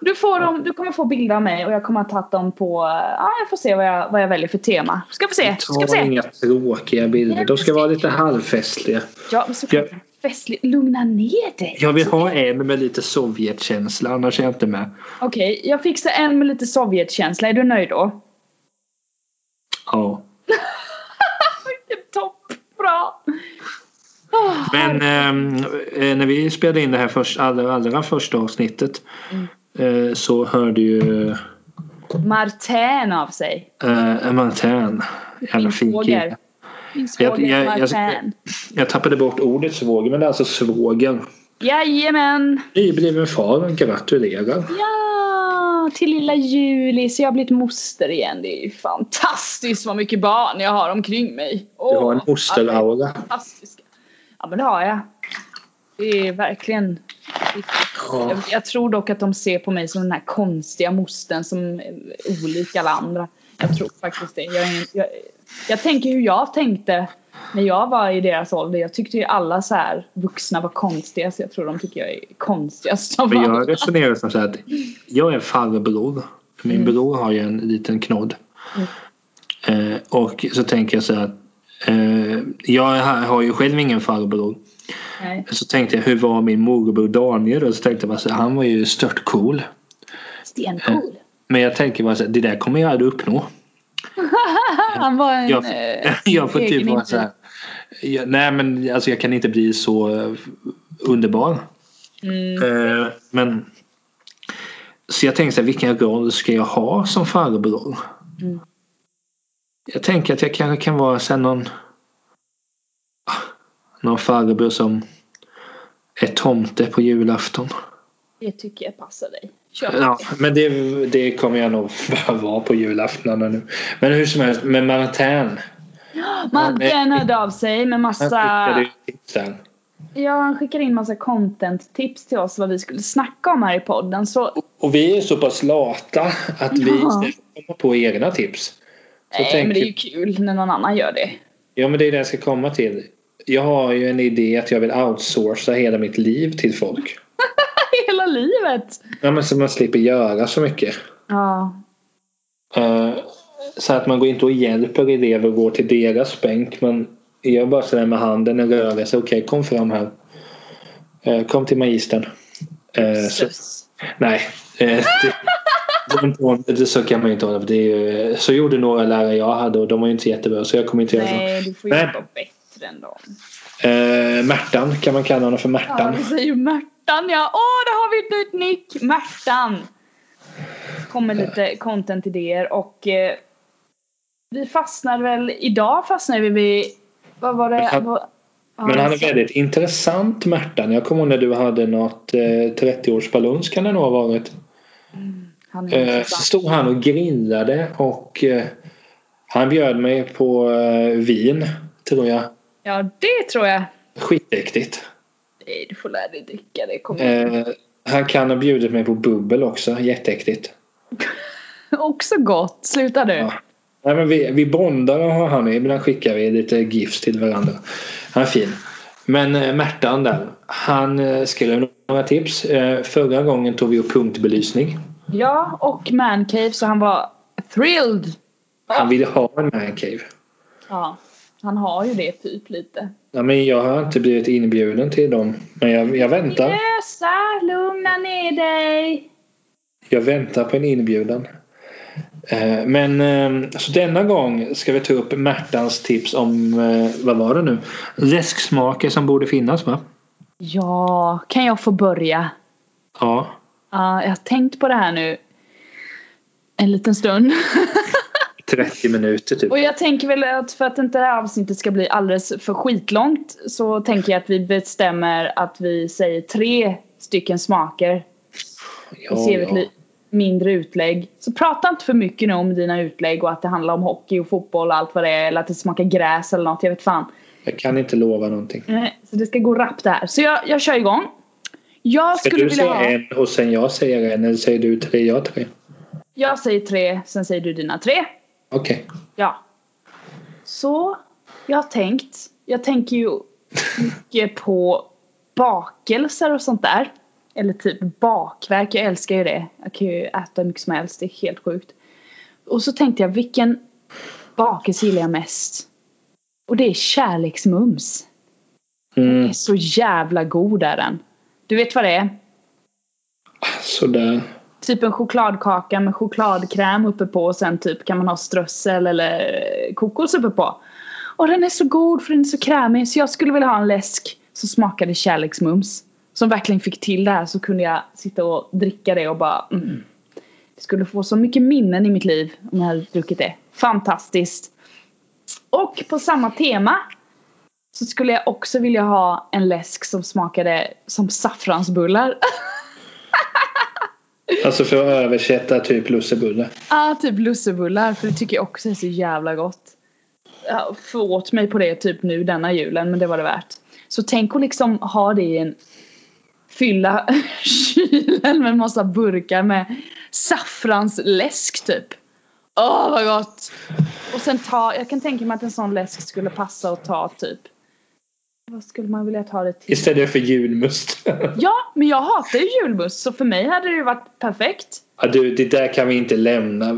Speaker 2: Du, får dem, du kommer få bilder av mig och jag kommer ha tagit dem på... Ja, jag får se vad jag, vad jag väljer för tema. Ska få se,
Speaker 1: jag
Speaker 2: ska få
Speaker 1: tar
Speaker 2: se!
Speaker 1: inga tråkiga bilder. De ska vara lite halvfestliga.
Speaker 2: Ja, men så
Speaker 1: Jag,
Speaker 2: festligt. Lugna ner dig.
Speaker 1: Jag vill ha en med lite Sovjetkänsla, annars är jag inte med.
Speaker 2: Okej, jag fixar en med lite Sovjetkänsla. Är du nöjd då?
Speaker 1: Ja.
Speaker 2: Vilken topp! Bra! Åh,
Speaker 1: Men
Speaker 2: herre-
Speaker 1: ehm, eh, när vi spelade in det här först, allra, allra första avsnittet
Speaker 2: Mm.
Speaker 1: eh, så hörde ju
Speaker 2: Martin av sig.
Speaker 1: eh, en Martin, jävla
Speaker 2: Min
Speaker 1: fin
Speaker 2: svåger.
Speaker 1: kille.
Speaker 2: Min
Speaker 1: Jag-
Speaker 2: svåger
Speaker 1: jag- jag-
Speaker 2: Martin.
Speaker 1: Jag tappade bort ordet svåger men det är alltså svågen.
Speaker 2: Jajamän!
Speaker 1: Nybliven far, gratulerar.
Speaker 2: Ja! Till lilla Julis. Jag har blivit moster igen. Det är ju fantastiskt vad mycket barn jag har omkring mig.
Speaker 1: Du
Speaker 2: Åh,
Speaker 1: har en osteraura.
Speaker 2: Fantastiska. Ja men det har jag. Det är verkligen Jag,
Speaker 1: Ja.
Speaker 2: jag tror dock att de ser på mig som den här konstiga mosten som är olik alla andra. Jag tror faktiskt det. Jag, är ingen, jag, jag tänker hur jag tänkte när jag var i deras ålder. Jag tyckte ju alla så här vuxna var konstiga så jag tror de tycker jag är konstigast av
Speaker 1: Men
Speaker 2: alla.
Speaker 1: jag resonerar som så här att jag är farbror. Min
Speaker 2: Mm.
Speaker 1: bror har ju en liten knodd. Eh, och så tänker jag så här att eh, jag har har ju själv ingen farbror.
Speaker 2: Nej.
Speaker 1: Så tänkte jag hur var min morbror Daniel då? Så tänkte jag bara så här, han var ju stört cool.
Speaker 2: Stencool.
Speaker 1: Men jag tänker bara så här, det där kommer jag aldrig uppnå.
Speaker 2: Han var en...
Speaker 1: Jag,
Speaker 2: eh,
Speaker 1: jag får typ
Speaker 2: egen
Speaker 1: vara så här. Jag, nej men alltså jag kan inte bli så eh, underbar.
Speaker 2: Mm.
Speaker 1: Eh, men Så jag tänkte så här, vilken roll ska jag ha som farbror?
Speaker 2: Mm.
Speaker 1: Jag tänker att jag kanske kan vara sen någon ah, någon farbror som är tomte på julafton.
Speaker 2: Det tycker jag passar dig. Kör.
Speaker 1: Ja, men det, det kommer jag nog bara vara på julaftnarna nu. Men hur som helst, med Manhattan.
Speaker 2: Man, den hörde av sig med
Speaker 1: Han
Speaker 2: massa...
Speaker 1: skickade ju tipsen.
Speaker 2: Ja, han skickade in massa content-tips till oss vad vi skulle snacka om här i podden. Så
Speaker 1: Och vi är så pass lata att vi
Speaker 2: Ja.
Speaker 1: istället kommer på egna tips. Så
Speaker 2: Nej, men det är ju kul när någon annan gör det.
Speaker 1: Ja, men det är det jag ska komma till. Jag har ju en idé att jag vill outsourca hela mitt liv till folk.
Speaker 2: Hela livet!
Speaker 1: Ja, men så man slipper göra så mycket.
Speaker 2: Ja.
Speaker 1: Eh, så att man går inte och hjälper elever att gå till deras bänk. Man gör bara sådär med handen en rörelse. Okej, kom fram här. Eh, kom till magistern. Eh, så,
Speaker 2: Sus.
Speaker 1: nej. Eh, det, den tån- det så kan man ju inte hålla på. Det är ju, så gjorde några lärare jag hade och de var ju inte jättebra så jag kommer inte göra så.
Speaker 2: Nej, du får ju
Speaker 1: Nej.
Speaker 2: vara bättre än dem.
Speaker 1: Eh, Märtan kan man kalla honom för
Speaker 2: Ja,
Speaker 1: Märtan.
Speaker 2: vi säger ju Märtan ja. Åh, där har vi ett nytt nick! Märtan! Kommer
Speaker 1: Eh.
Speaker 2: lite content-idéer och eh, vi fastnar väl, idag fastnar vi vid, vad var
Speaker 1: Men
Speaker 2: det?
Speaker 1: han-
Speaker 2: Vad- ja,
Speaker 1: Men han är
Speaker 2: alltså.
Speaker 1: väldigt intressant Märtan. Jag kommer ihåg när du hade något eh, 30-årsballons kan det nog ha varit.
Speaker 2: Han är
Speaker 1: Eh, så
Speaker 2: intressant.
Speaker 1: stod han och grillade och eh, han bjöd mig på eh, vin tror jag.
Speaker 2: Ja, det tror jag.
Speaker 1: Skitäckligt.
Speaker 2: Nej, du får lära dig dricka. Det kommer
Speaker 1: Eh, han kan ha bjudit mig på bubbel också. Jätteäckligt.
Speaker 2: också gott. Sluta du.
Speaker 1: Eh. Ja. Nej, men vi, vi bondar har han och ibland skickar vi lite gifs till varandra. Han är fin. Men eh, Märtan där, han eh, skrev några tips. Eh, förra gången tog vi upp punktbelysning.
Speaker 2: Ja, och mancave så han var thrilled.
Speaker 1: Han ville ha en mancave.
Speaker 2: Ja, han har ju det typ lite.
Speaker 1: Ja, men jag har inte blivit inbjuden till dem. Men jag, jag väntar.
Speaker 2: Lösa, lugna ner dig.
Speaker 1: Jag väntar på en inbjudan. Eh, Men eh, så denna gång ska vi ta upp Märtans tips om, eh, vad var det nu? Läsksmaker som borde finnas va?
Speaker 2: Ja, kan jag få börja?
Speaker 1: Ja.
Speaker 2: Ja, jag har tänkt på det här nu en liten stund.
Speaker 1: 30 minuter typ.
Speaker 2: Och jag tänker väl att för att inte det här avsnittet ska bli alldeles för skitlångt så tänker jag att vi bestämmer att vi säger tre stycken smaker
Speaker 1: Ja,
Speaker 2: och ser vi ett
Speaker 1: ja.
Speaker 2: li- mindre utlägg. Så prata inte för mycket nu om dina utlägg och att det handlar om hockey och fotboll och allt vad det är eller att det smakar gräs eller något, jag vet fan.
Speaker 1: Jag kan inte lova någonting.
Speaker 2: Nej, Så det ska gå rappt det här. Så jag, jag kör igång. Jag
Speaker 1: Ska
Speaker 2: skulle
Speaker 1: du
Speaker 2: vilja
Speaker 1: säga
Speaker 2: ha...
Speaker 1: en och sen jag säger en eller säger du tre, jag tre?
Speaker 2: Jag säger tre, sen säger du dina tre.
Speaker 1: Okej.
Speaker 2: Ja. Så, jag har tänkt. Jag tänker ju mycket på bakelser och sånt där. Eller typ bakverk, jag älskar ju det. Jag kan ju äta hur mycket som helst, det är helt sjukt. Och så tänkte jag, vilken bakelse gillar jag mest? Och det är kärleksmums.
Speaker 1: Mm,
Speaker 2: Den är så jävla god är den. Du vet vad det är?
Speaker 1: Sådär.
Speaker 2: Typ en chokladkaka med chokladkräm uppe på och sen typ kan man ha strössel eller kokos uppe på. Och den är så god för den är så krämig så jag skulle vilja ha en läsk som smakade kärleksmums. Som verkligen fick till det här så kunde jag sitta och dricka det och bara mm. Det skulle få så mycket minnen i mitt liv om jag hade druckit det. Fantastiskt! Och på samma tema så skulle jag också vilja ha en läsk som smakade som saffransbullar.
Speaker 1: Alltså för att översätta typ lussebulle.
Speaker 2: Ja, ah, typ lussebullar. För det tycker jag också är så jävla gott. Jag får åt mig på det typ nu denna julen, men det var det värt. Så tänk att liksom ha det i en... Fylla kylen med en massa burkar med saffransläsk typ. Åh, vad gott! Och sen ta... Jag kan tänka mig att en sån läsk skulle passa att ta typ... Vad skulle man vilja ta det till?
Speaker 1: Istället för julmust.
Speaker 2: Ja, men jag hatar ju julmust så för mig hade det ju varit perfekt.
Speaker 1: ja, du, det där kan vi inte lämna.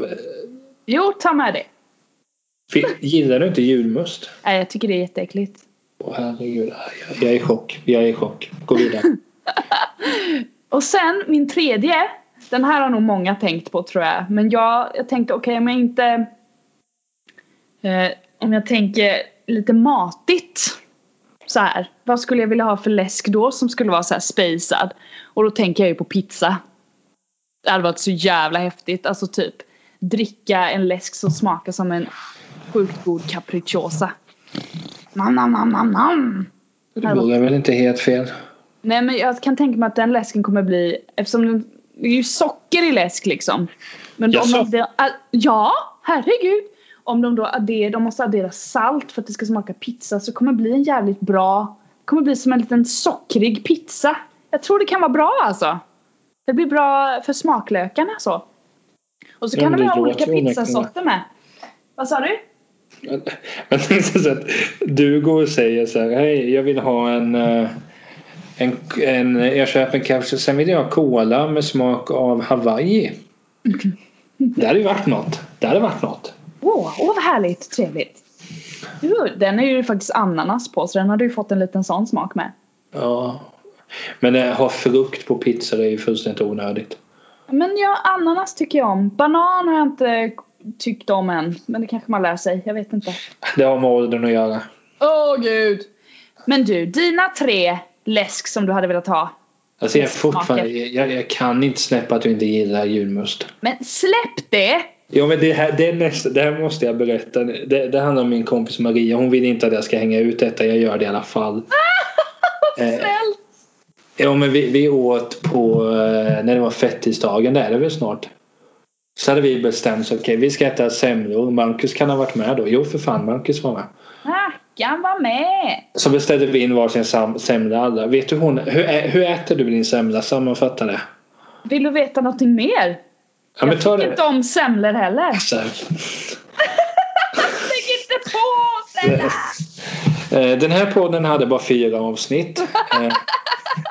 Speaker 2: Jo, ta med det.
Speaker 1: Fi- Gillar du inte julmust?
Speaker 2: Nej, jag tycker det är jätteäckligt.
Speaker 1: Åh herregud, jag, jag är i chock. Jag är i chock. Gå vidare.
Speaker 2: Och sen min tredje. Den här har nog många tänkt på tror jag. Men jag, jag tänkte okej om jag inte... Eh, om jag tänker lite matigt. Så här. Vad skulle jag vilja ha för läsk då som skulle vara så här spejsad? Och då tänker jag ju på pizza. Det hade varit så jävla häftigt. Alltså typ dricka en läsk som smakar som en sjukt god capricciosa. Nam, nam, nam, nam, nam.
Speaker 1: Det vore väl inte helt fel.
Speaker 2: Nej men jag kan tänka mig att den läsken kommer bli Eftersom den, det är ju socker i läsk liksom Men om
Speaker 1: Jaså?
Speaker 2: de, de, ah, Ja, herregud Om de då adderar, de måste addera salt för att det ska smaka pizza Så kommer det bli en jävligt bra Det kommer bli som en liten sockrig pizza Jag tror det kan vara bra alltså Det blir bra för smaklökarna så Och så
Speaker 1: Ja,
Speaker 2: kan
Speaker 1: men
Speaker 2: de
Speaker 1: det
Speaker 2: ha olika
Speaker 1: låter ju verkligen-
Speaker 2: pizzasorter med Vad sa du?
Speaker 1: Men det är så att du går och säger så här. Hej, jag vill ha en, eh, en, en jag köper en capsule. Sen vill jag ha cola med smak av Hawaii. Det hade ju varit något. Det hade varit något.
Speaker 2: Åh, åh, vad härligt, trevligt. Jo, den är ju faktiskt ananas på så den hade ju fått en liten sån smak med.
Speaker 1: Ja. Men eh, ha frukt på pizza det är ju fullständigt onödigt.
Speaker 2: Men ja, ananas tycker jag om. Banan har jag inte tyckt om än. Men det kanske man lär sig, jag vet inte.
Speaker 1: Det har med åldern att göra.
Speaker 2: Åh gud! Men du, dina tre läsk som du hade velat ha.
Speaker 1: Alltså jag, är fortfarande, jag, jag kan inte släppa att du inte gillar julmust.
Speaker 2: Men släpp det!
Speaker 1: Ja men det här, det, är nästa, det här måste jag berätta. Det, det handlar om min kompis Maria. Hon vill inte att jag ska hänga ut detta. Jag gör det i alla fall. Eh,
Speaker 2: Snäll!
Speaker 1: ja men vi, vi åt på eh, när det var fettisdagen. Det är det väl snart. Så hade vi bestämt så okej vi ska äta semlor. Marcus kan ha varit med då. Jo för fan Marcus var med.
Speaker 2: Mackan var med!
Speaker 1: Så beställde vi in varsin sam- semla alla. Vet du hon, hur, ä- hur äter du din semla? Sammanfatta det.
Speaker 2: Vill du veta någonting mer?
Speaker 1: Ja men ta
Speaker 2: Jag tycker
Speaker 1: det.
Speaker 2: inte om semlor heller.
Speaker 1: Så här.
Speaker 2: Lägg inte på semlor!
Speaker 1: Eh, Den här podden hade bara fyra avsnitt. Eh,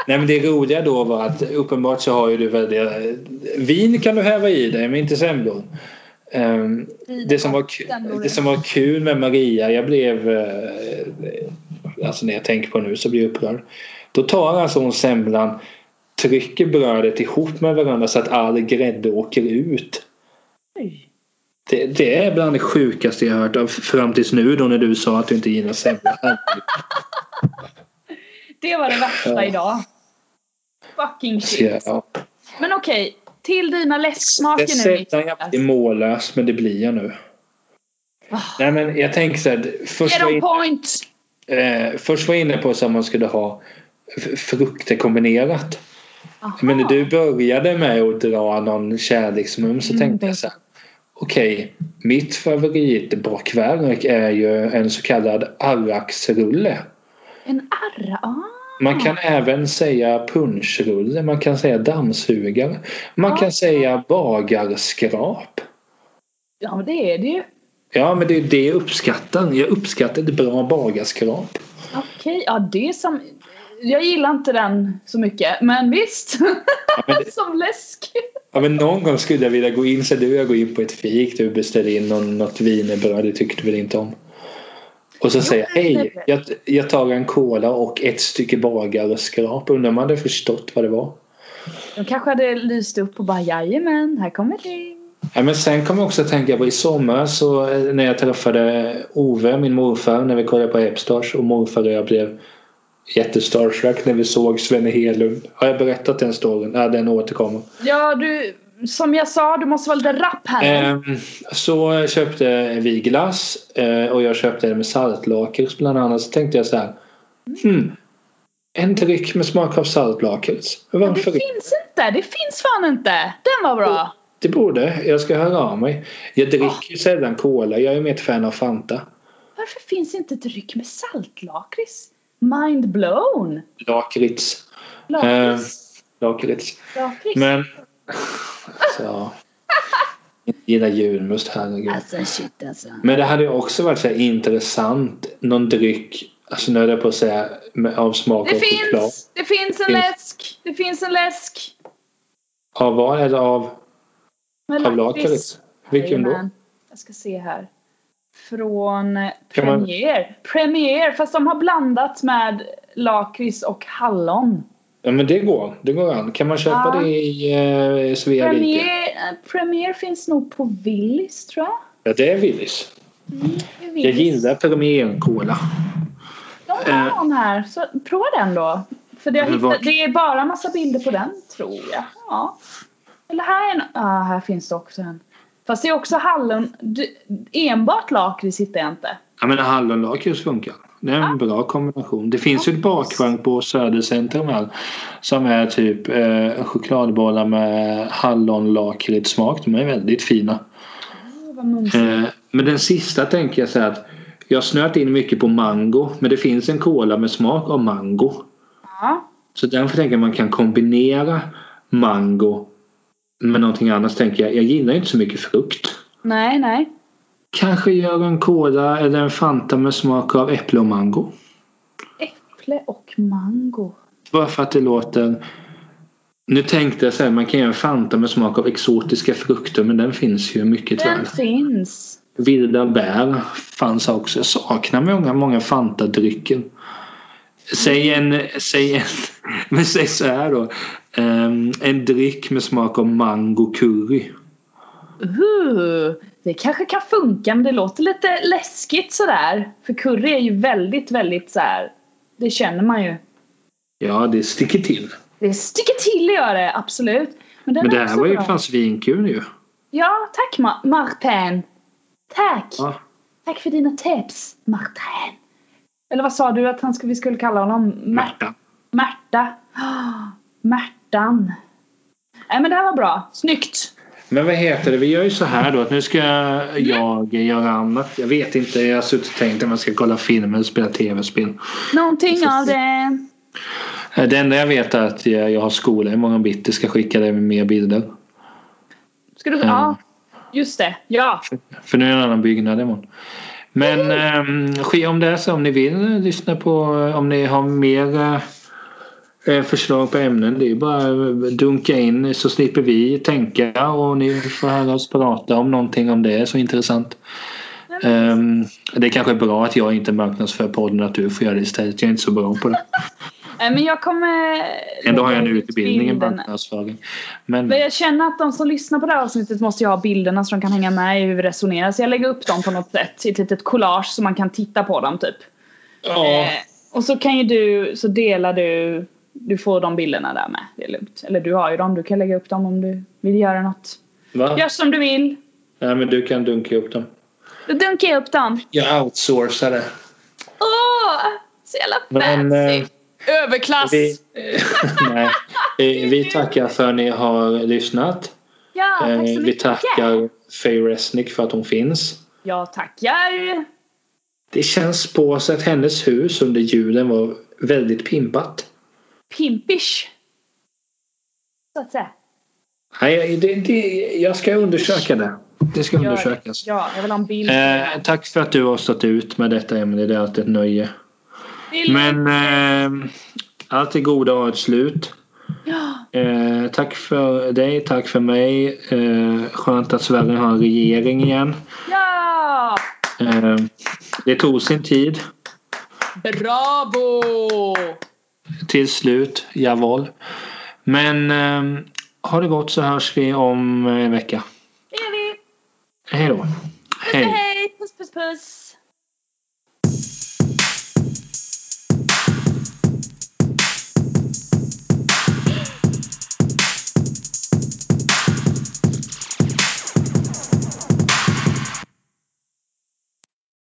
Speaker 1: Nej men det roliga då var att uppenbart så har ju du väldigt... eh, Vin kan du häva i dig men inte semlor. Eh, Det som var, ku- det som var kul med Maria, jag blev... eh, Alltså när jag tänker på nu så blir jag upprörd. Då tar alltså hon semlan, trycker brödet ihop med varandra så att all grädde åker ut.
Speaker 2: Oj.
Speaker 1: Det, det är bland det sjukaste jag hört av fram tills nu då när du sa att du inte gillar semla.
Speaker 2: Det var det värsta
Speaker 1: Ja.
Speaker 2: idag. Fucking shit.
Speaker 1: Ja.
Speaker 2: Men okej, till dina
Speaker 1: Det är
Speaker 2: läsksmaker nu
Speaker 1: sällan jag blir
Speaker 2: Niklas.
Speaker 1: mållös men det blir jag nu. Nej men jag tänker så här. Först
Speaker 2: Get
Speaker 1: var,
Speaker 2: on
Speaker 1: in,
Speaker 2: point!
Speaker 1: eh, först var jag inne på så att man skulle ha f- frukter kombinerat.
Speaker 2: Aha.
Speaker 1: Men när du började med att dra någon kärleksmum så
Speaker 2: Mm,
Speaker 1: tänkte
Speaker 2: det-
Speaker 1: jag så här. Okej, mitt favoritbakverk är ju en så kallad arraksrulle.
Speaker 2: En arra? Ah.
Speaker 1: Man kan även säga punschrulle, man kan säga dammsugare. Man
Speaker 2: Ja.
Speaker 1: kan säga bagarskrap.
Speaker 2: Ja, men det är det ju.
Speaker 1: Ja, men det är det jag uppskattar. Jag uppskattar ett bra bagarskrap.
Speaker 2: Okej, ja det är som... Jag gillar inte den så mycket, men visst. som läsk.
Speaker 1: Ja, men någon gång skulle jag vilja gå in så du och jag går in på ett fik. Du beställer in någon, något wienerbröd. Det tyckte du väl inte om? Och så
Speaker 2: Jo,
Speaker 1: säga
Speaker 2: det är
Speaker 1: hej,
Speaker 2: det.
Speaker 1: jag, jag tar en cola och ett stycke bagarreskrap. Undrar om man hade förstått vad det var.
Speaker 2: De kanske hade lyst upp och bara jajamän, här kommer det.
Speaker 1: Ja, men sen kom jag också att tänka på i somras så, eh, när jag träffade Ove, min morfar, när vi kollade på Epstars och morfar och jag blev jättestarstruck när vi såg Svenne Hedlund. Har jag berättat den storyn? Ja, den återkommer.
Speaker 2: Ja, du, som jag sa, du måste vara lite rapp här.
Speaker 1: Ehm, så köpte vi glass eh, och jag köpte en med saltlakrits bland annat. Så tänkte jag så här. Hmm, en dryck med smak av saltlakrits.
Speaker 2: Men det
Speaker 1: Varför inte?
Speaker 2: finns inte, det finns fan inte. Den var bra.
Speaker 1: Det borde. Jag ska höra av mig. Jag dricker ju sällan cola. Jag är mer ett fan av Fanta.
Speaker 2: Varför finns inte dryck med saltlakrits? Mind blown.
Speaker 1: Lakrits.
Speaker 2: Lakrits.
Speaker 1: Lakrits.
Speaker 2: Lakrits.
Speaker 1: Eh, Men... Så. ja. Jag gillar julmust, herregud.
Speaker 2: Alltså shit alltså.
Speaker 1: Men det hade ju också varit så här intressant. Någon dryck, alltså nu är det på att säga med- av smak
Speaker 2: Det
Speaker 1: av choklad.
Speaker 2: finns, det finns en
Speaker 1: Finns.
Speaker 2: läsk. Det finns en läsk.
Speaker 1: Av vad? Eller av,
Speaker 2: Med
Speaker 1: av
Speaker 2: lakrits.
Speaker 1: lakrits? Vilken då?
Speaker 2: Jajamän. Jag ska se här. Från eh,
Speaker 1: Kan man-
Speaker 2: Premier. Premier, fast de har blandat med lakrits och hallon.
Speaker 1: Ja men det går. Det går an. Kan man köpa
Speaker 2: Ja.
Speaker 1: det i eh, Svea rike?
Speaker 2: Premier, eh, Premier finns nog på Willys tror jag.
Speaker 1: Ja det är Willys.
Speaker 2: Det är
Speaker 1: Jag
Speaker 2: Willys.
Speaker 1: gillar Premier Cola.
Speaker 2: De har
Speaker 1: eh,
Speaker 2: någon här, så prova den då. För det, jag
Speaker 1: Men
Speaker 2: hittade,
Speaker 1: vart-
Speaker 2: det är bara massa bilder på den tror jag. Ja. Eller här är en, ah, här finns det också en. Fast det är också hallon, du, enbart lakrits hittar jag inte.
Speaker 1: Ja men hallonlakrits funkar. Det är en bra kombination. Det finns ju ett bakverk på Södercentrum här. Som är typ eh, chokladbollar med hallonlakritssmak. De är väldigt fina.
Speaker 2: Åh, vad mums.
Speaker 1: Eh, men den sista tänker jag så här att jag har snöat in mycket på mango. Men det finns en cola med smak av mango.
Speaker 2: Ja.
Speaker 1: Så därför tänker jag man kan kombinera mango med någonting annat. Tänker jag. jag gillar inte så mycket frukt.
Speaker 2: Nej, nej.
Speaker 1: Kanske gör en cola eller en Fanta med smak av äpple och mango.
Speaker 2: Äpple och mango.
Speaker 1: Bara för att det låter... Nu tänkte jag så här, man kan göra en Fanta med smak av exotiska frukter men den finns ju mycket
Speaker 2: Den
Speaker 1: väl.
Speaker 2: finns.
Speaker 1: Vilda bär fanns också. Jag saknar många, många Fanta-drycken. Säg en, säg en, men säg så här då. Ehm, en dryck med smak av mango curry.
Speaker 2: Uh, det kanske kan funka men det låter lite läskigt sådär. För curry är ju väldigt, väldigt såhär. Det känner man ju.
Speaker 1: Ja, det sticker till.
Speaker 2: Det sticker till gör det, absolut. Men, den
Speaker 1: Men det
Speaker 2: är
Speaker 1: här
Speaker 2: också
Speaker 1: var ju
Speaker 2: bra.
Speaker 1: fan svinkul ju.
Speaker 2: Ja, tack Ma- Martin. Tack.
Speaker 1: Ja.
Speaker 2: Tack för dina tips, Martin. Eller vad sa du att han skulle, vi skulle kalla honom? Märta.
Speaker 1: Märta.
Speaker 2: Märta. Ah, Märtan. Nej men det här var bra. Snyggt.
Speaker 1: Men vad heter det? Vi gör ju så här då att nu ska jag göra annat. Jag vet inte. Jag har suttit och tänkt att man ska kolla filmer och spela tv-spel.
Speaker 2: Någonting
Speaker 1: Precis.
Speaker 2: av det.
Speaker 1: Eh, Det enda jag vet är att jag jag har skola imorgon bitti. Ska skicka dig med mer bilder.
Speaker 2: Ska du...
Speaker 1: Mm.
Speaker 2: Ja. Just det. Ja.
Speaker 1: För nu är det en annan byggnad imorgon. Men ehm, ske om det är så om ni vill eh, lyssna på eh, om ni har mer eh, eh, förslag på ämnen. Det är bara eh, dunka in så slipper vi tänka och ni får höra oss prata om någonting om det är så intressant. Ehm, det är kanske är bra att jag inte marknadsför podden att du får göra det istället. Jag är inte så bra på det.
Speaker 2: Eh, Men jag kommer...
Speaker 1: Ändå har jag en utbildning i
Speaker 2: Bilderna.
Speaker 1: marknadsföring. Men
Speaker 2: Men jag känner att de som lyssnar på det här avsnittet måste ju ha bilderna så de kan hänga med i hur vi resonerar. Så jag lägger upp dem på något sätt i ett litet collage så man kan titta på dem typ.
Speaker 1: ja,
Speaker 2: Eh, och så kan ju du, så delar du, du får de bilderna där med. Det är lugnt. Eller du har ju dem, du kan lägga upp dem om du vill göra något.
Speaker 1: va?
Speaker 2: Gör som du vill.
Speaker 1: Nej, men du kan dunka upp dem.
Speaker 2: Då dunkar jag upp dem.
Speaker 1: Jag outsourcar det.
Speaker 2: Åh! Så jävla fancy!
Speaker 1: Men, eh,
Speaker 2: Överklass!
Speaker 1: Vi, nej, Eh, vi tackar för att ni har lyssnat.
Speaker 2: ja, tack så
Speaker 1: Eh,
Speaker 2: mycket!
Speaker 1: Vi tackar Faye Resnick för att hon finns.
Speaker 2: Jag tackar!
Speaker 1: Det känns på oss att hennes hus under julen var väldigt pimpat.
Speaker 2: Pimpish! Så att säga.
Speaker 1: Nej, det, det, jag ska undersöka det. Det ska
Speaker 2: Gör det.
Speaker 1: undersökas.
Speaker 2: Ja, jag vill ha en bild.
Speaker 1: Eh, tack för att du har stått ut med detta Emelie. Det är alltid ett nöje.
Speaker 2: Det är lugnt.
Speaker 1: Men eh, allt det goda har ett slut.
Speaker 2: Ja,
Speaker 1: Eh, tack för dig, tack för mig. Eh, skönt att Sverige har en regering igen.
Speaker 2: ja!
Speaker 1: Eh, Det tog sin tid.
Speaker 2: Bravo!
Speaker 1: Till slut, jawohl. Men eh, ha det gott så hörs vi om eh, en vecka.
Speaker 2: Det gör vi!
Speaker 1: Hej då.
Speaker 2: Hej! Hej! Puss puss puss!